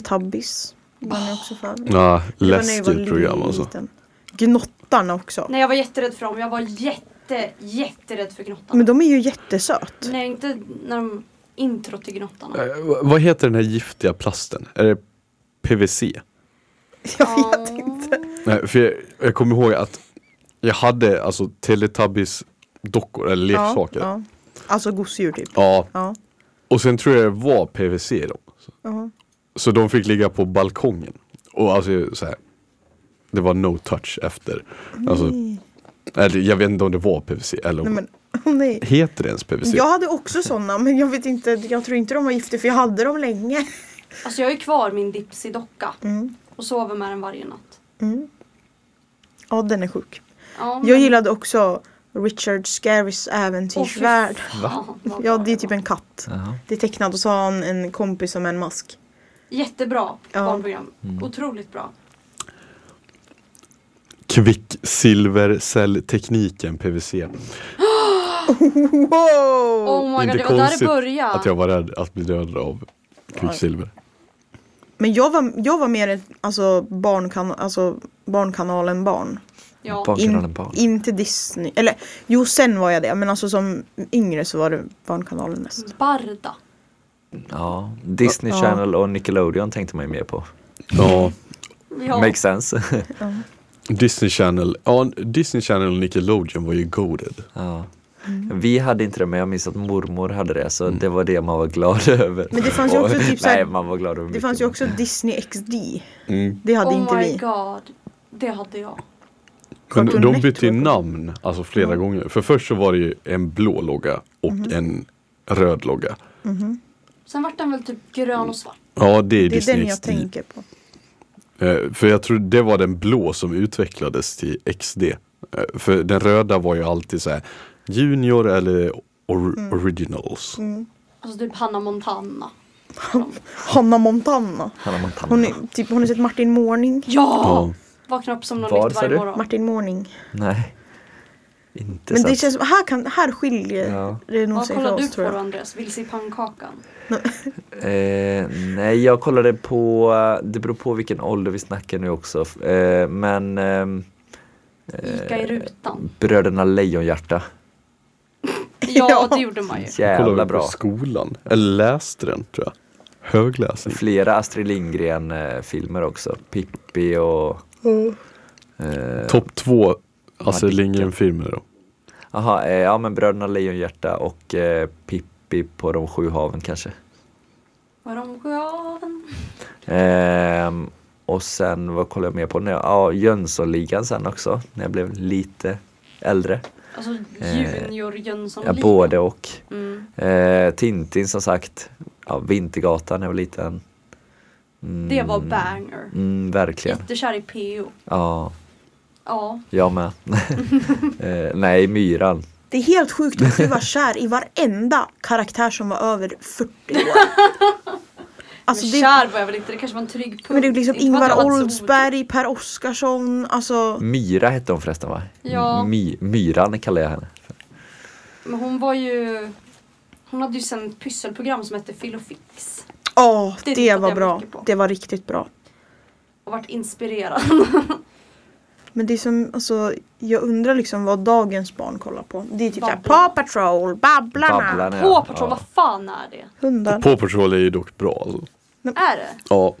Teletubbies brann jag också för. Ja, Det var när jag var läskigt program alltså. liten. Gnottarna också. Nej, jag var jätterädd för dem. Jag var jätte, jätterädd för Gnottan. Men de är ju jättesöt. Nej, inte när de intro till Gnottan. Eh, v- vad heter den här giftiga plasten? Är det PVC? [laughs] Jag vet inte. Nej, för jag, jag kommer ihåg att jag hade alltså Teletubbies dockor eller leksaker. Ja, Ja, ja. Alltså gosedjur typ. Ja. och sen tror jag det var PVC i dem. ja. Så de fick ligga på balkongen. Och alltså så här. Det var no touch efter. Alltså, eller, jag vet inte om det var PVC eller Nej om, men, [laughs] åh nej. heter det ens PVC? Jag hade också sådana men jag vet inte, jag tror inte de var giftiga för jag hade dem länge. Mm. Alltså jag är kvar min Dipsy-docka och sover med den varje natt. Ja den är sjuk. Ja, Jag gillade också Richard Scarys äventyrsvärld. Va? Ja det är typ en katt. Jaha. Det är tecknat och så har han en kompis som en mask. Jättebra Ja. barnprogram. Otroligt bra. Kvicksilvercelltekniken PVC. Wow! Oh my god, inte det var där det konstigt började. att jag var rädd att bli dödad av kvicksilver. Men jag var, jag var mer ett- alltså, barnkan, alltså barnkanalen barn. Ja. Barn. Barnkanalen In, Barn. inte Disney. Eller jo sen var jag det men alltså som yngre så var det barnkanalen mest. Barda. Ja, Disney Ja. Channel och Nickelodeon tänkte man ju mer på. Ja, Ja. Makes sense. Disney Channel. Ja, Disney Channel och Nickelodeon var ju goaded. ja. Mm. Vi hade inte det men jag minns att mormor hade det så det var det man var glad [laughs] över. Men det fanns ju också Och- typ så här- Nej, man var glad över Det mycket, Mm. fanns ju men- också Disney XD. Det hade inte oh my vi. god. Det hade jag. Men Cartoon de bytte ju Network. namn alltså flera gånger. För först så var det ju en blå logga och en röd logga. Sen vart den väl typ grön och svart. Ja, det är, Det är Disney den jag XD. tänker på. Eh, För jag tror det var den blå som utvecklades till XD. Eh, För den röda var ju alltid så här Junior eller or- originals. Alltså typ Hanna Montana. Hanna Montana. Hannah Montana. Hon är, typ, har ni sett Martin Morning? Ja! Ja. Vaknar upp som någon Vad nytt sa varje du? morgon. Martin Morning. Nej. Inte Men det sett. känns som, här, kan, här skiljer Ja. det nog Vad sig för kollar du oss på tror då jag. Andreas? Vilse i pannkakan? Eh, nej, jag kollade på, det beror på vilken ålder vi snackar nu också, eh, men ehm, Eh, Ica i [laughs] rutan? Bröderna Lejonhjärta. Ja, det gjorde man ju. Kollade Jävla vi på bra. skolan. Eller läste den tror jag. Högläsning. Flera Astrid Lindgren-filmer också. Pippi och... eh, Topp två Astrid Madicken. Lindgren-filmer då. Aha, eh, ja men Bröderna Lejonhjärta och eh, Pippi på de sju haven kanske. Var de sjöven? Ehm, och sen, vad kollade jag mer på? nu? Ja, Jönssonligan sen också, när jag blev lite äldre. Alltså Eh, Junior Jönsson Ja, Ligan. både och. Mm. Eh, Tintin som sagt, ja, Vintergatan när jag var liten. Mm, Det var banger. Mm, verkligen. Jättekär i PO. Ja, Ja. [laughs] jag med. eh, nej, Myran. Det är helt sjukt att du var kär i varenda karaktär som var över 40 [laughs] år. Alltså men det, kär var jag väl inte, det kanske var en trygg punkt. men det är liksom Inte för att Ingvar jag var så otrygg. Oldsberg, Per Oscarsson, alltså. Myra hette hon förresten va? Ja. My, myran kallar jag henne. Men hon var ju... Hon hade ju sen ett pysselprogram som hette Filofix. Ja, Det det, tittade var jag bra. mycket på. Det var riktigt bra. Och vart inspirerad. Men det är som, alltså, jag undrar liksom vad dagens barn kollar på. Det är typ såhär Babblarna. Paw Patrol, Babblarna, [laughs] Babblarna, På ja. Patrol, Ja. vad fan är det? hundar. Paw Patrol är ju dock bra alltså. Är det? Ja.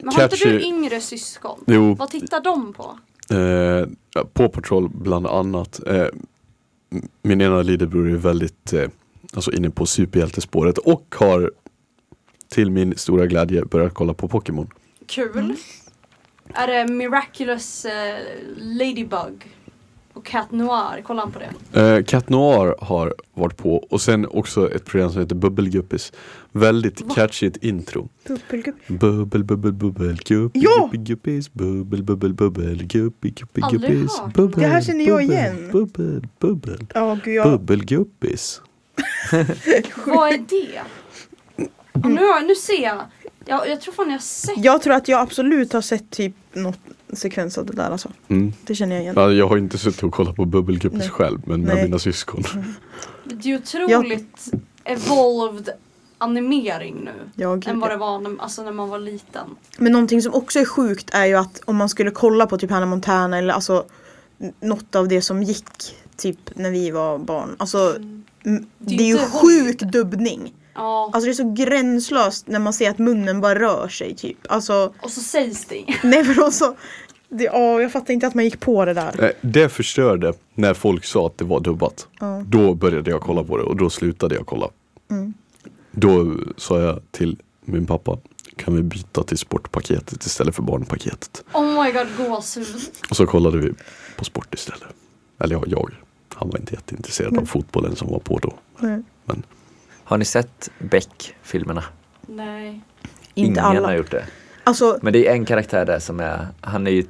Men har inte du Catchy. yngre syskon? Jo. Vad tittar de på? Eh, Paw Patrol bland annat. Eh, m- min ena lillebror är väldigt eh, alltså inne på superhjältespåret och har till min stora glädje börjat kolla på Pokémon. Mm. Kul. Är det Miraculous eh, Ladybug? och Cat Noir, kolla an på det. Eh, Cat Noir har varit på och sen också ett program som heter Bubbelguppis. Väldigt catchigt intro. Bubbelgupp. Bubbel, bubbel, bubbel, guppi, Ja! guppi, guppis. Bubbel, bubbel, bubbel, guppi, guppi, Aldrig guppis. hört. Bubbel, Det här känner jag bubbel, igen. Bubbel, bubbel, Ja, gud jag... bubbelguppis. Vad är det? Och nu, har- nu ser jag. jag. Jag tror fan jag har sett. Jag tror att jag absolut har sett typ något sekvens av det där alltså. Mm. Det känner jag igen. Ja, Jag har inte suttit och kollat på bubbelguppis Nej. själv men med Nej. mina syskon. Det är otroligt evolved animering nu. Ja, gud, än vad ja. det var när, alltså när man var liten. Men någonting som också är sjukt är ju att om man skulle kolla på typ Hannah Montana eller alltså n- något av det som gick typ när vi var barn. Alltså m- Det det är är, ju inte sjuk dubbning. Ja. Alltså det är så gränslöst när man ser att munnen bara rör sig typ. Alltså [laughs] Och så sägs det inget. nej men alltså. Det, ja, jag fattar inte att man gick på det där. Eh, Det förstörde när folk sa att det var dubbat. Ja. Då började jag kolla på det och då slutade jag kolla. Mm. Då sa jag till min pappa kan vi byta till sportpaketet istället för barnpaketet? Oh my god gåshud. Och så kollade vi på sport istället. Eller jag, jag. han var inte jätteintresserad av fotbollen som var på då. Nej. Men Har ni sett Beck-filmerna? Nej. Inte Ingen alla. har gjort det. Alltså Men det är en karaktär där som är, han är ju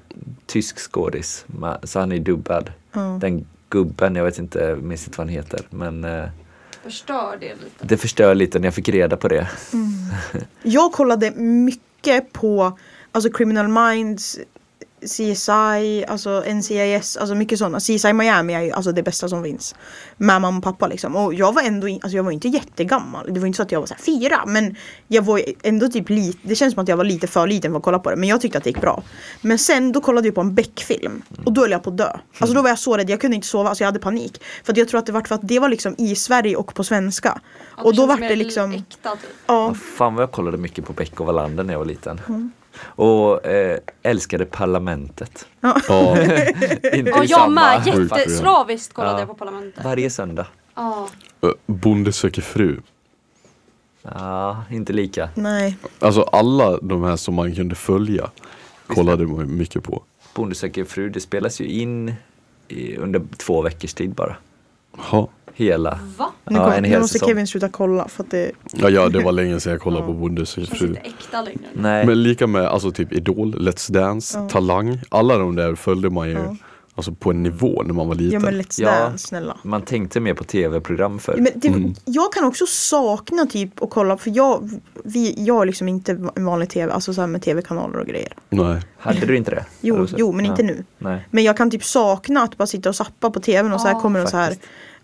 tysk skådis, ma- så han är ju dubbad. Ja. Den gubben, jag vet inte, minns inte vad han heter, men eh, Förstör det lite. det förstör lite när jag fick reda på det. jag kollade mycket på alltså Criminal Minds CSI, alltså NCIS, alltså mycket sådana. CSI Miami är ju alltså det bästa som finns. Med mamma och pappa liksom. Och jag var ändå, in, alltså jag var inte jättegammal. Det var inte så att jag var så här fyra. Men jag var ändå typ lite, det känns som att jag var lite för liten för att kolla på det. Men jag tyckte att det gick bra. Men sen då kollade jag på en Beck-film. Och då höll jag på att dö. Alltså då var jag så rädd, jag kunde inte sova, alltså jag hade panik. För att jag tror att det var för att det var liksom i Sverige och på svenska. Ja, och då känns var mer det liksom, Äkta typ. ja. Fan vad jag kollade mycket på Beck och Wallander när jag var liten. Mm. Och eh, älskade [laughs] Parlamentet. ja, Inte Och i jag med. samma- Sjukt program. Jätteslaviskt kollade Ja. jag på Parlamentet. Varje söndag. Ja. eh, Bonde söker fru. Ja, inte lika. Nej. Alltså alla de här som man kunde följa kollade man mycket på. Bonde söker fru, det spelas ju in i, under två veckors tid bara. Jaha. Hela. Va? Nu, Ja, kom, en nu hel måste säsong. Kevin sluta kolla för att det... Ja, ja, det var länge sedan jag kollade [laughs] på Ja. Bonde söker Känns fru. inte äkta längre. nu. Nej. Men lika med alltså typ Idol, Let's Dance, Ja. Talang. Alla de där följde man ju Ja. alltså på en nivå när man var Ja liten. men Let's Ja. Mm. Dance snälla. Man tänkte mer på tv-program förr. Ja, Men det, Jag kan också sakna typ att kolla för jag, vi, jag är liksom inte en vanlig tv, alltså så här med tv-kanaler och grejer. Nej. Hade du inte det? Har Jo, du sett? jo men Ja. inte nu. Nej. Men jag kan typ sakna att bara sitta och sappa på tvn och så här Ja, kommer de så här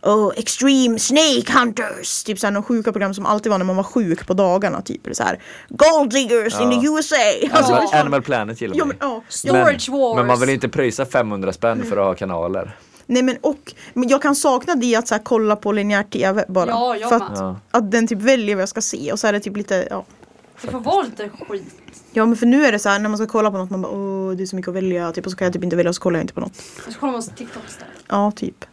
Oh, extreme snake hunters! Typ såhär några sjuka program som alltid var när man var sjuk på dagarna typ. Eller så här, Gold diggers in the USA! Alltså, Animal, fy fan. Animal Planet gillar ja, man men, ju. ja. Storage Wars. men man vill inte pröjsa 500 spänn för att ha kanaler. Nej men och men jag kan sakna det att så här, kolla på linjär tv bara. Ja, jag för med. att, Ja. att den typ väljer vad jag ska se och så är det typ lite ja. Det får vara lite skit. Ja men för nu är det så här när man ska kolla på något man bara åh det är så mycket att välja typ och så kan jag typ inte välja och så kollar jag inte på något. Och så kollar man på TikTok istället. Ja typ.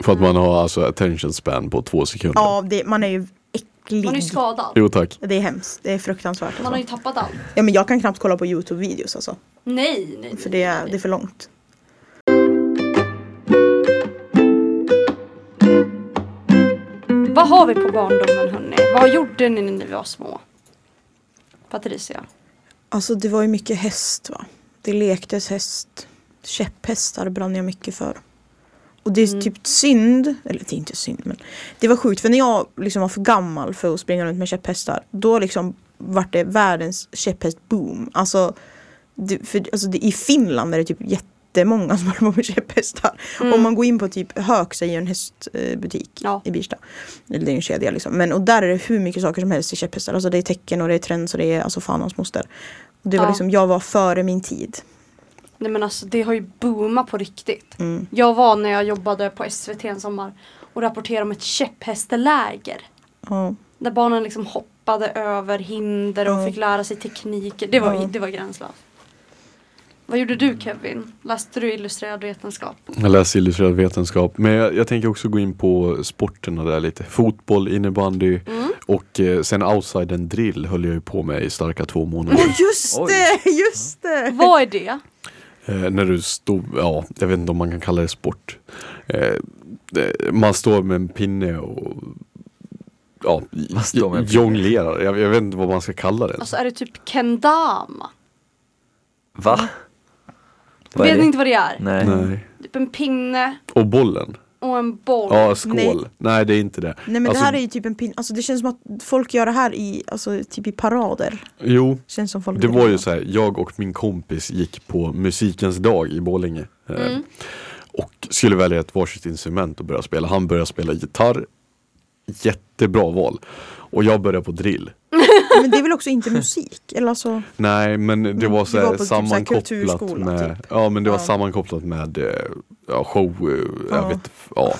För att man har alltså attention span på två sekunder. Ja det, man är ju äcklig. Man är ju skadad. Jo tack. det är hemskt, det är fruktansvärt. Man har ju Alltså. tappat allt. Ja men jag kan knappt kolla på Youtube-videos alltså. Nej, nej, nej. För det är, det är för långt. Vad har vi på barndomen hörni? Vad gjorde ni när ni var små? Patricia. Alltså det var ju mycket häst va. Det lektes häst. Käpphästar brann jag mycket för. Och det är typ synd, eller det är inte synd men det var sjukt för när jag liksom var för gammal för att springa runt med käpphästar då liksom vart det världens käpphästboom. Alltså, det, för, alltså det, i Finland är det typ jättemånga som håller på med käpphästar. Mm. Om man går in på typ Hööks är ju en hästbutik Ja. i Birsta. Eller det är ju en kedja liksom. Men och där är det hur mycket saker som helst i käpphästar. Alltså det är tecken och det är trends och det är alltså fan hans moster. Och det var Ja. liksom, jag var före min tid. Nej men alltså det har ju boomat på riktigt. Mm. Jag var när jag jobbade på SVT en sommar och rapporterade om ett käpphästeläger. [laughs] Ja. Där barnen liksom hoppade över hinder och Ja. fick lära sig tekniker. Det var, Ja. det var gränslöst. Vad gjorde du Kevin? Läste du illustrerad vetenskap? Jag läser illustrerad vetenskap. Men jag, jag tänker också gå in på sporterna där lite. Fotboll, innebandy Mm. och eh, sen outside and drill höll jag ju på med i starka två månader. Just Oj. det, just det! Vad är det? Mm. Eh, när du stod, ja, jag vet inte om man kan kalla det sport. Eh, det- man står med en pinne och ja, Man står med en pinne. jonglerar. Jag, jag vet inte vad man ska kalla det. Alltså är det typ kendama? Va? Vad är Mm. Vet ni det? inte vad det är? Nej. eh. Nej. Typ en pinne Och bollen. och en boll. Ja, skål. Nej. Nej. det är inte det. Nej men Alltså, det här är ju typ en pin... Alltså det känns som att folk gör det här i, alltså typ i parader. Jo, Känns som folk det gör var ju så här, jag och min kompis gick på musikens dag i Borlänge. eh, Mm. Och skulle välja ett varsitt instrument att börja spela. Han började spela gitarr. Jättebra val. Och jag började på drill. Men det är väl också inte musik? Eller alltså... Nej men det var så det var på här typ så här sammankopplat kulturskola, med typ. Ja men det var Ja. sammankopplat med eh, ja, show, eh, jag Ja. vet [laughs] ja,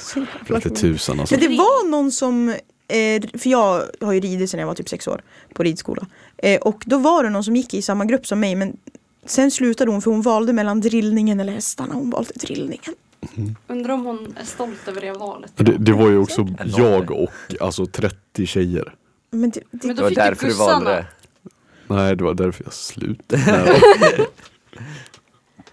vet inte tusan alltså. Men det var någon som, eh, för jag har ju ridit sedan jag var typ sex år på ridskola. Eh, och då var det någon som gick i samma grupp som mig men sen slutade hon för hon valde mellan drillningen eller hästarna. Hon valde drillningen. Undrar om hon är stolt över det valet. Det, det var ju också Eller- jag och alltså 30 tjejer. Men det, det, Men då Det var fick du därför du valde gussarna. det. Nej det var därför [laughs] jag slutade.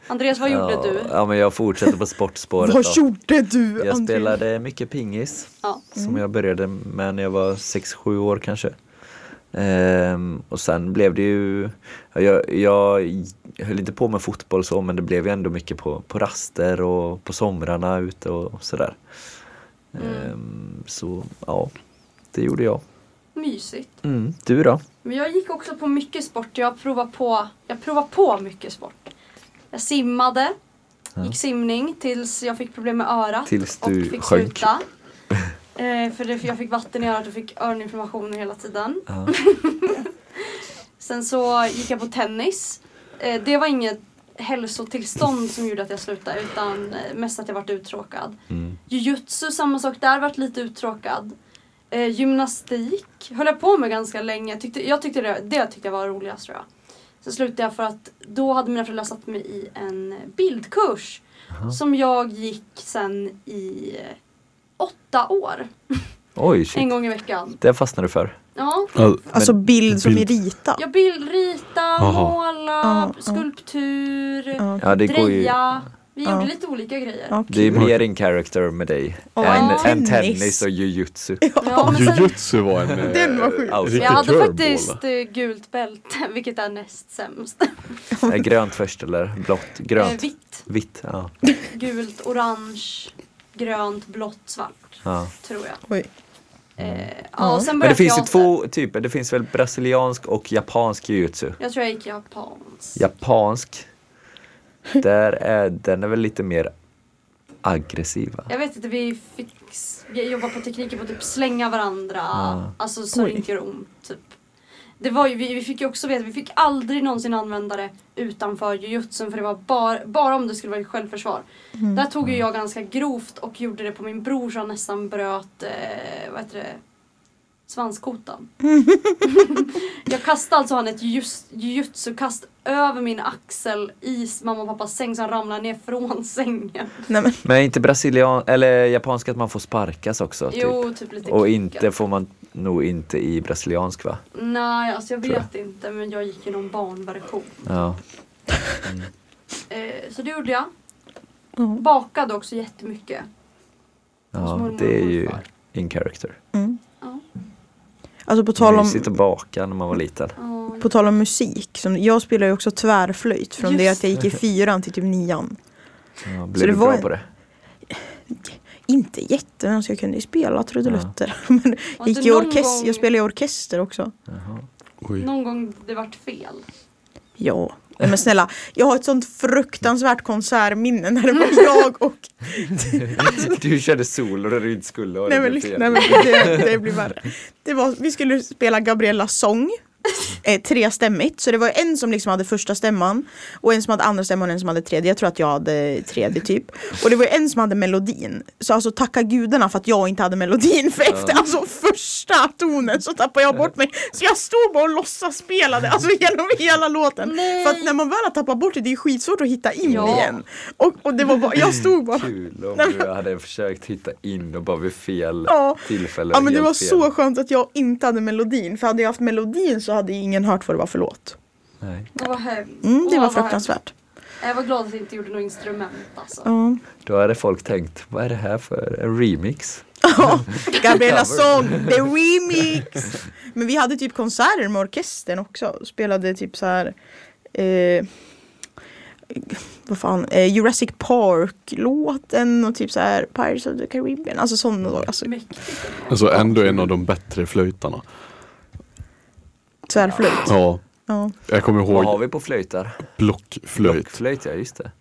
Andreas, vad gjorde ja, du? Ja men jag fortsätter på sportspåret vad då. gjorde du Jag André? spelade mycket pingis. Ja. Som jag började med när jag var 6-7 år kanske. Ehm, och sen blev det ju, jag, jag höll inte på med fotboll så men det blev ju ändå mycket på, på raster och på somrarna ute och sådär. Mm. Ehm, så ja, det gjorde jag. Mysigt. Mm, du då? Men jag gick också på mycket sport. Jag provade på, jag provade på mycket sport. Jag simmade, gick simning tills jag fick problem med örat Tills och du fick sjönk. [laughs] sluta. Eh, för det, för jag fick vatten i örat och fick öroninflammationer hela tiden. Ja. [laughs] Sen så gick jag på tennis. Eh, det var inget hälsotillstånd som gjorde att jag slutade utan eh, mest att jag varit uttråkad. Mm. Jujutsu, samma sak där, varit lite uttråkad. Eh, gymnastik höll jag på med ganska länge. Tyckte, jag tyckte det, det tyckte jag var roligast tror jag. Sen slutade jag för att då hade mina föräldrar satt mig i en bildkurs som jag gick sen i eh, åtta år. Oj, En shit. gång i veckan. Det fastnade du för. Ja. Ja, Alltså bild som i bild. rita. Jag bildrita, Jaha. måla, Ja, ja. skulptur, Ja. Ja, det går ju, dreja. Vi Ja. gjorde lite olika grejer. Ja, det är [laughs] kul. mer in character med dig Och en än, än tennis. tennis och jujutsu. Ja, men sen, Jujutsu var en eh, [laughs] Den var sjuk. Ja, riktig jag hade curveball. faktiskt eh, gult bälte, [laughs] vilket är näst sämst. Är grönt först eller blått? Eh, Grönt? Vitt, Vitt, ja. gult, orange, grönt, blått, svart. ja. Tror jag. Oj. Eh, ja, Ja. och sen Men började det finns ju jag två typer, det finns väl brasiliansk och japansk jujutsu? Jag tror jag gick japans. Japansk, där är, den är väl lite mer aggressiv va? Jag vet inte, vi fick s- jobba på tekniker på typ slänga varandra. Ja. Alltså så det Oj. inte gör ont. Typ. Det var ju, vi, vi fick ju också veta, vi fick aldrig någonsin använda det utanför jujutsun för det var bara, bara om det skulle vara i självförsvar. Mm. Där tog Mm. ju jag ganska grovt och gjorde det på min bror så han nästan bröt, eh, vad heter det, [laughs] svanskotan. jag kastade alltså han ett jujus- jujutsu-kast över min axel i mamma och pappas säng så han ramlade ner från [laughs] sängen. Nej, men, Men är inte brasilian, eller japansk att man får sparkas också? Typ. Jo, typ lite och kicka. inte får man nog inte i brasiliansk va? Nej, alltså jag Tror jag. vet inte men jag gick ju någon barnversion. Ja. Eh, så det gjorde jag. ja. Bakade också jättemycket. Hos ja mormor det är och ju morfar. in character. Ja. mm. Alltså på tal om Mysigt att baka när man var liten. Ja. På tal om musik, som, jag spelar ju också tvärflöjt från det Just att jag gick i fyran till typ nian. Ja, blev det du var bra en- på det? [laughs] Inte jätte, men alltså jag kunde ju spela trudelutter. [laughs] Men Var jag gick det i någon orkester, gång- jag spelade i orkester också. Oj. Någon gång det vart fel. Ja, Nej, men snälla, jag har ett sånt fruktansvärt konsertminne när det var jag och... Du körde solo där du inte skulle ha Nej det men, liksom- blev fel. nej, men det, det blir värre. Det var, vi skulle spela Gabriellas sång. Eh, trestämmigt, så det var en som liksom hade första stämman och en som hade andra stämman och en som hade tredje. Jag tror att jag hade tredje typ. Och det var en som hade melodin. Så alltså tacka gudarna för att jag inte hade melodin för efter alltså, första tonen så tappade jag bort mig. Så jag stod bara och låtsas spelade alltså genom hela låten. Nej. För att när man väl har tappat bort det, det är ju skitsvårt att hitta in Ja. igen. Och, och det var bara, jag stod bara Kul om du hade försökt hitta in och bara vid fel Ja. tillfälle. Ja men det helt var fel. så skönt att jag inte hade melodin, för hade jag haft melodin så hade ju ingen hört vad det var för låt. Nej. Det var hemskt. Mm, det Åh, var vad fruktansvärt. Jag var glad att jag inte gjorde något instrument alltså. Ja. Då hade folk tänkt, vad är det här för en remix? Gabriella Song, the remix! Men vi hade typ konserter med orkestern också. Spelade typ så här. Eh, vad fan, eh, Jurassic Park-låten och typ så här Pirates of the Caribbean. Alltså sådana. Alltså, Mäktigt. Alltså ändå en av de bättre flöjtarna. tvärflöjt. Ja, Ja. [laughs] jag kommer Vad har ihåg vi på flöjtar? blockflöjt. Flöjt, ja just det.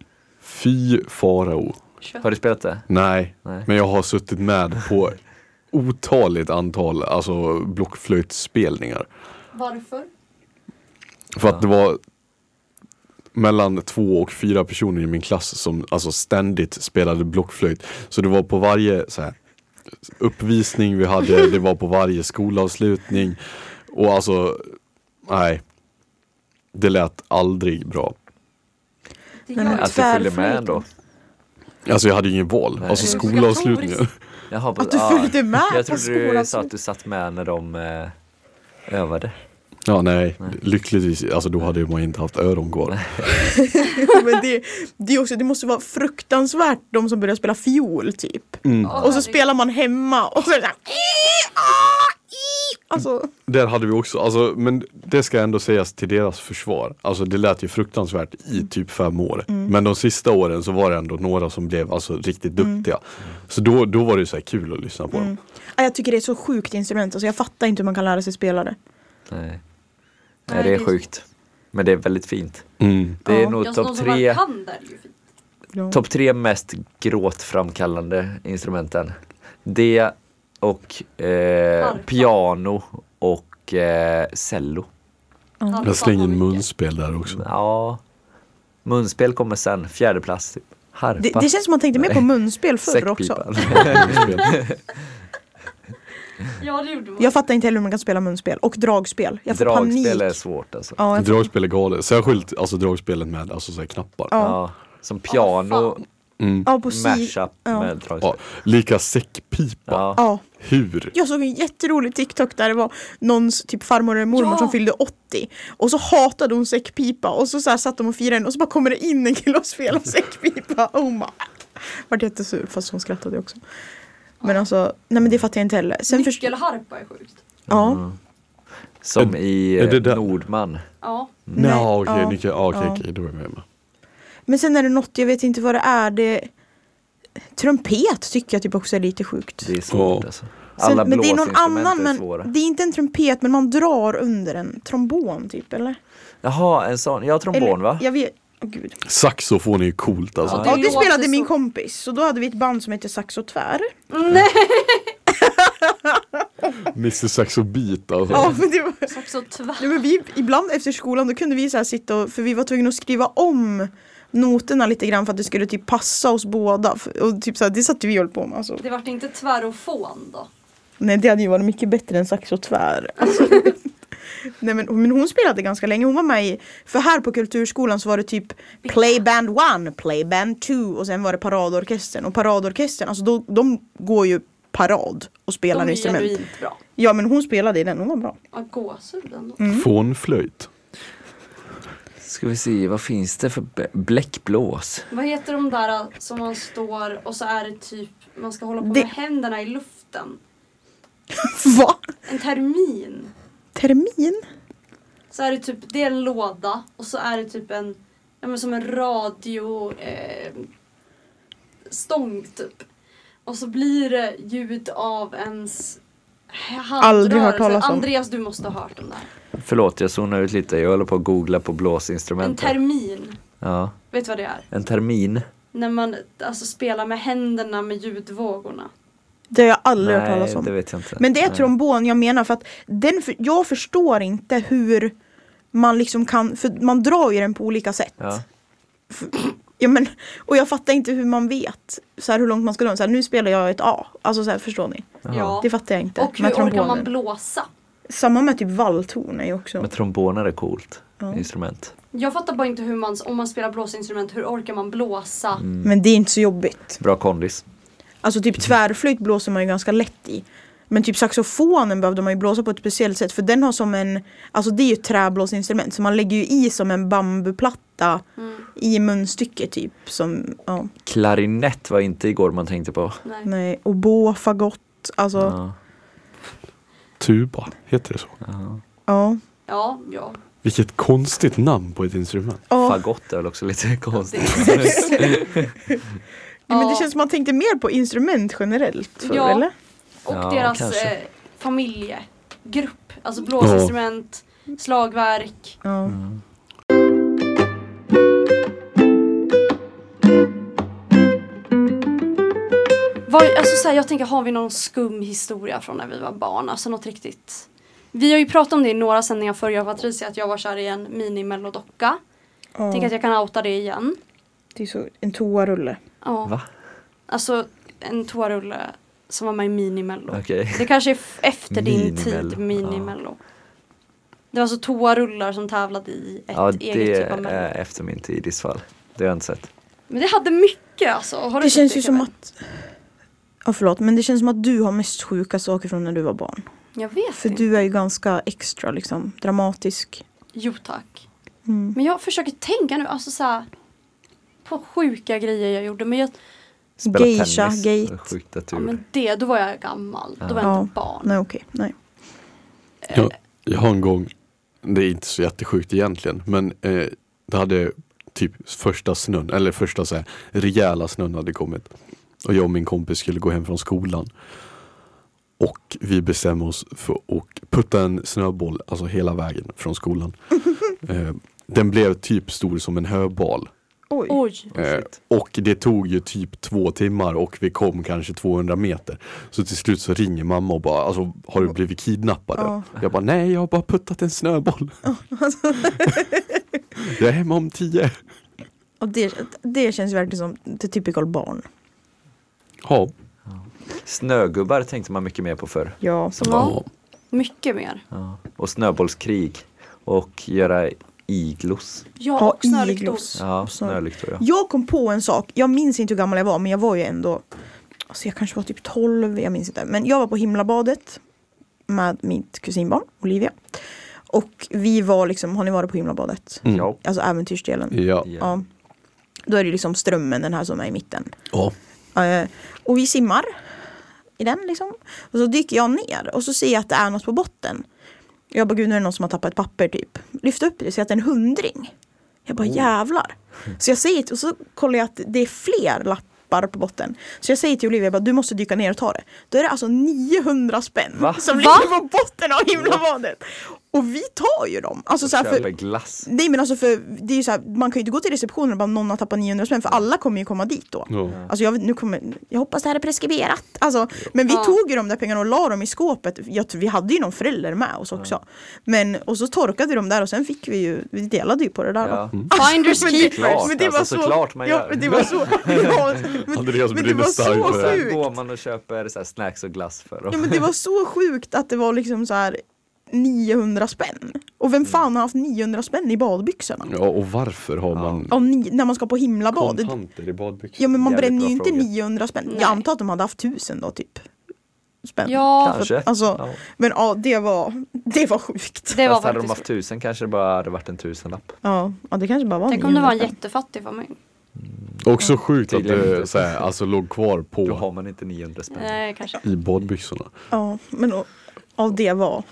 Fy farao. Kött. Har du spelat det? Nej, Nej. men jag har suttit med på otaligt antal alltså blockflöjtspelningar. Varför? För att det var mellan två och fyra personer i min klass som alltså ständigt spelade blockflöjt. Så det var på varje så här, uppvisning vi hade, det var på varje skolavslutning. Och alltså, nej. Det lät aldrig bra. Det gör Nej, men jag. Att du följde med ändå? Alltså jag hade ju ingen val. Nej. Alltså Det är skolavslutningen. Jaha, Att du ah. följde med Jag på trodde du skolan. sa att du satt med när de eh, övade. Ja nej, lyckligtvis. Alltså då hade man inte haft öron kvar. Men det, det, är också, det måste vara fruktansvärt de som börjar spela fiol typ. Mm. Ja, Och så herregud. spelar man hemma och så är det såhär Alltså, Där hade vi också, alltså, men det ska ändå sägas till deras försvar. Alltså det lät ju fruktansvärt i typ fem år. Men de sista åren så var det ändå några som blev alltså, riktigt duktiga. Så då, då var det ju så här kul att lyssna på dem. mm. ja, jag tycker det är så sjukt instrument, alltså, jag fattar inte hur man kan lära sig spela det. Nej. Nej, Nej, det är det- sjukt. Men det är väldigt fint. Mm. Det är Ja. nog Jag som topp någon som bara tre, kan det är ju fint. Ja. topp tre mest gråtframkallande instrumenten. Det och eh, Harpa. piano och eh, cello. Allt Jag slänger in annat mycket. munspel där [laughs] också. Ja, munspel kommer sen. Fjärde plats. Typ. Harpa. Det, det känns som man tänkte mer på munspel förr också. Säckpipan. Munspel. Ja det gjorde man. Jag fattar inte heller hur man kan spela munspel och dragspel. [laughs] Jag får panik. Dragspel är svårt alltså. Ja, jag får... Dragspel är galet. Särskilt alltså, dragspelet med alltså, så här, knappar. Ja. Ja, som piano, fan. ja, på si... mashup Ja. med Ja, dragspel. lika säckpipa. Ja. Ja. Hur? Jag såg en jätterolig TikTok där det var någons typ farmor eller mormor Ja. som fyllde 80 och så hatade hon säckpipa och så, så här satt de och firade den och så bara kommer det in en kille och spelar säckpipa Oh och hon bara vart jättesur fast hon skrattade också. Men alltså, nej men det fattar jag inte heller. Sen först- Nyckelharpa är sjukt. Mm. ja, Som i är det eh, där- Nordman. Ja. Nej, ja, okej, ja, okay, ja. okej, ja. okej, då är jag med. Men sen är det något, jag vet inte vad det är, det Trumpet tycker jag typ också är lite sjukt. Det är svårt Ja. alltså. Sen, Alla men det är någon blåsinstrument annan, är svåra. men det är inte en trumpet men man drar under en trombon typ eller? Jaha, en sån. Ja, trombon eller, va? Jag vet, åh gud. Saxofon är ju coolt alltså. Ja, Ja Det det låter spelade så. min kompis, så då hade vi ett band som hette Saxo Tvär. Mr Saxo Beat alltså. Ja men det var... Också tvär. Ja, men vi, ibland efter skolan då kunde vi så här sitta och, för vi var tvungna att skriva om noterna lite grann för att det skulle typ passa oss båda. För- Och typ så här, det satt vi och höll på med alltså. Det vart inte tvärofon då. Nej det hade ju varit mycket bättre än sax och tvär. [laughs] Alltså, Nej men, men hon spelade ganska länge, hon var med i, för här på kulturskolan så var det typ Playband 1, Playband 2 och sen var det paradorkestern. Och paradorkestern, alltså då, de går ju parad och spelar De är instrument. genuint bra. Ja men hon spelade i den, hon var bra. Ja, gåshud ändå. Fånflöjt. Ska vi se, vad finns det för bä- bläckblås? Vad heter de där äh, som man står och så är det typ man ska hålla på Det- med händerna i luften? Va? En termin. Termin? Så är det typ, det är en låda och så är det typ en, ja men som en radio eh, stång typ. Och så blir det ljud av ens handrörelse. Aldrig hört talas om. Andreas du måste ha hört den där. Förlåt, jag zonade ut lite. Jag håller på att googla på En blåsinstrument. här. termin. ja, Vet du vad det är? en termin. När man alltså spelar med händerna med ljudvågorna. Det har jag aldrig hört Nej, talas om. det vet jag inte. Men det är Nej. trombon jag menar för att den, för, jag förstår inte hur man liksom kan, för man drar ju den på olika sätt. Ja. Ja, men, och jag fattar inte hur man vet så här, hur långt man ska dra. Så här, nu spelar jag ett A. Alltså så här, förstår ni? Ja. Det fattar jag inte. Och hur orkar man tromboner. blåsa? Samma med typ valltorn är ju också. Men tromboner är coolt instrument. Jag fattar bara inte hur man, om man spelar blåsinstrument, hur orkar man blåsa? Mm. Men det är inte så jobbigt. Bra kondis. Alltså typ tvärflöjt blåser man ju ganska lätt i. Men typ saxofonen behövde man ju blåsa på ett speciellt sätt för den har som en Alltså det är ju ett träblåsinstrument så man lägger ju i som en bambuplatta Mm. I munstycket typ som, ja, Klarinett var inte igår man tänkte på. Nej. nej, oboe, fagott, alltså ja. Ja. Tuba, heter det så? ja. Ja, ja. Vilket konstigt namn på ett instrument. Fagott är väl också lite [laughs] konstigt. Nej, Men det Ja. känns som man tänkte mer på instrument generellt förr, Ja. eller? [laughs] Och Ja, deras kanske. eh, familjegrupp. Alltså blåsinstrument, slagverk. Ja. Mm. Vad, alltså så här, jag tänker, har vi någon skum historia från när vi var barn? Alltså något riktigt. Vi har ju pratat om det i några sändningar förr, jag och Patricia, att jag var kär i en mini-mellodocka. Ja. Tänk att jag kan outa det igen. Det är så, en toarulle. Ja. Va? Alltså en toarulle som var med i Minimello. Okej. Det kanske är f- efter din Minimello, tid, Minimello. Det var alltså toarullar som tävlade i ett Ja, eget det typ av mello. är efter min tid i ditt fall. Det har jag inte sett. Men det hade mycket alltså. Har du Det sett känns ju som Kevin? att Ja förlåt men det känns som att du har mest sjuka saker från när du var barn. Jag vet För inte. du är ju ganska extra liksom, dramatisk. Jo tack. Mm. Men jag försöker tänka nu, alltså så här, På sjuka grejer jag gjorde. Men, jag, Spela Geisha, tennis. gate. Det var Sjukt att du ja, gjorde. men det, då var jag gammal. Då var jag Ja. inte barn. Nej okej, nej. Jag, jag har en gång, det är inte så jättesjukt egentligen, men eh, det hade typ första snön, eller första så här, rejäla snön hade kommit. Och jag och min kompis skulle gå hem från skolan. Och vi bestämmer oss för att putta en snöboll, alltså hela vägen från skolan. Eh, den blev typ stor som en höbal. Oj. Oj. Eh, och det tog ju typ två timmar och vi kom kanske 200 meter. Så till slut så ringer mamma och bara, alltså har du blivit kidnappad? Ja. Jag bara, nej jag har bara puttat en snöboll. [laughs] jag är hemma om tio. Och det, det känns verkligen som the typical barn. Ja, Snögubbar tänkte man mycket mer på förr. Ja. Som barn. Ja. Mycket mer. Ja. Och snöbollskrig. Och göra iglos. Jag Ja, och snölyktor. iglos. Ja, Så- snölyktor ja. Jag kom på en sak, jag minns inte hur gammal jag var men jag var ju ändå Alltså jag kanske var typ 12, jag minns inte. Men jag var på himlabadet med mitt kusinbarn Olivia. Och vi var liksom, har ni varit på himlabadet? Mm. Ja. Alltså äventyrsdelen. ja. Ja. Ja. Då är det liksom strömmen, den här som är i mitten. ja. Eh, och vi simmar i den liksom. Och så dyker jag ner och så ser jag att det är något på botten. Jag bara, gud nu är det någon som har tappat ett papper typ. Lyft upp det och ser att det är en hundring. Jag Oh. bara, jävlar. Så jag säger till, och så kollar jag att det är fler lappar på botten. Så jag säger till Olivia, jag bara, du måste dyka ner och ta det. Då är det alltså 900 spänn Va? som Va? ligger på botten av himlavadet. Och vi tar ju dem. Alltså, så här, för, Köper glass. Nej men alltså för det är ju så här, man kan ju inte gå till receptionen och bara någon har tappat 900 spänn för alla kommer ju komma dit då. Ja. Alltså jag, vet- nu kommer, jag hoppas det här är preskriberat. Alltså, men vi Ja. tog ju de där pengarna och la dem i skåpet. Jag, tror- vi hade ju någon förälder med oss också. Men, och så torkade vi dem där och sen fick vi ju, vi delade ju på det där då. Mm. Ja. Finders [laughs] Men det- keepers. Klart, men det var alltså, så- såklart man Ja, gör. men det [laughs] var så. [laughs] Ja, men, Andreas men det brinner var starkt så för det här. sjukt. Sen går man och köper så här snacks och glass för dem. Ja men det var så sjukt att det var liksom så här 900 spänn. Och Mm. vem fan har haft 900 spänn i badbyxorna? ja, och varför har man Om ni, när man ska på himlabadet. kontanter i badbyxor? Ja men man Jävligt bränner bra ju inte fråga. 900 spänn. Nej. Jag antar att de hade haft 1000 då typ. Spänn. Ja, Kanske. Alltså, Ja. Men ja, det var, det var sjukt. det var Fast hade de faktiskt haft tusen kanske det bara hade varit en tusenlapp. Ja, ja det kanske bara var Tänk om det var en 900 spänn. jättefattig familj. Också sjukt att Tydligen inte. det så här, alltså, låg kvar Då på har man inte 900 spänn. Nej, Eh, kanske. i badbyxorna. Ja, men och, ja, det var.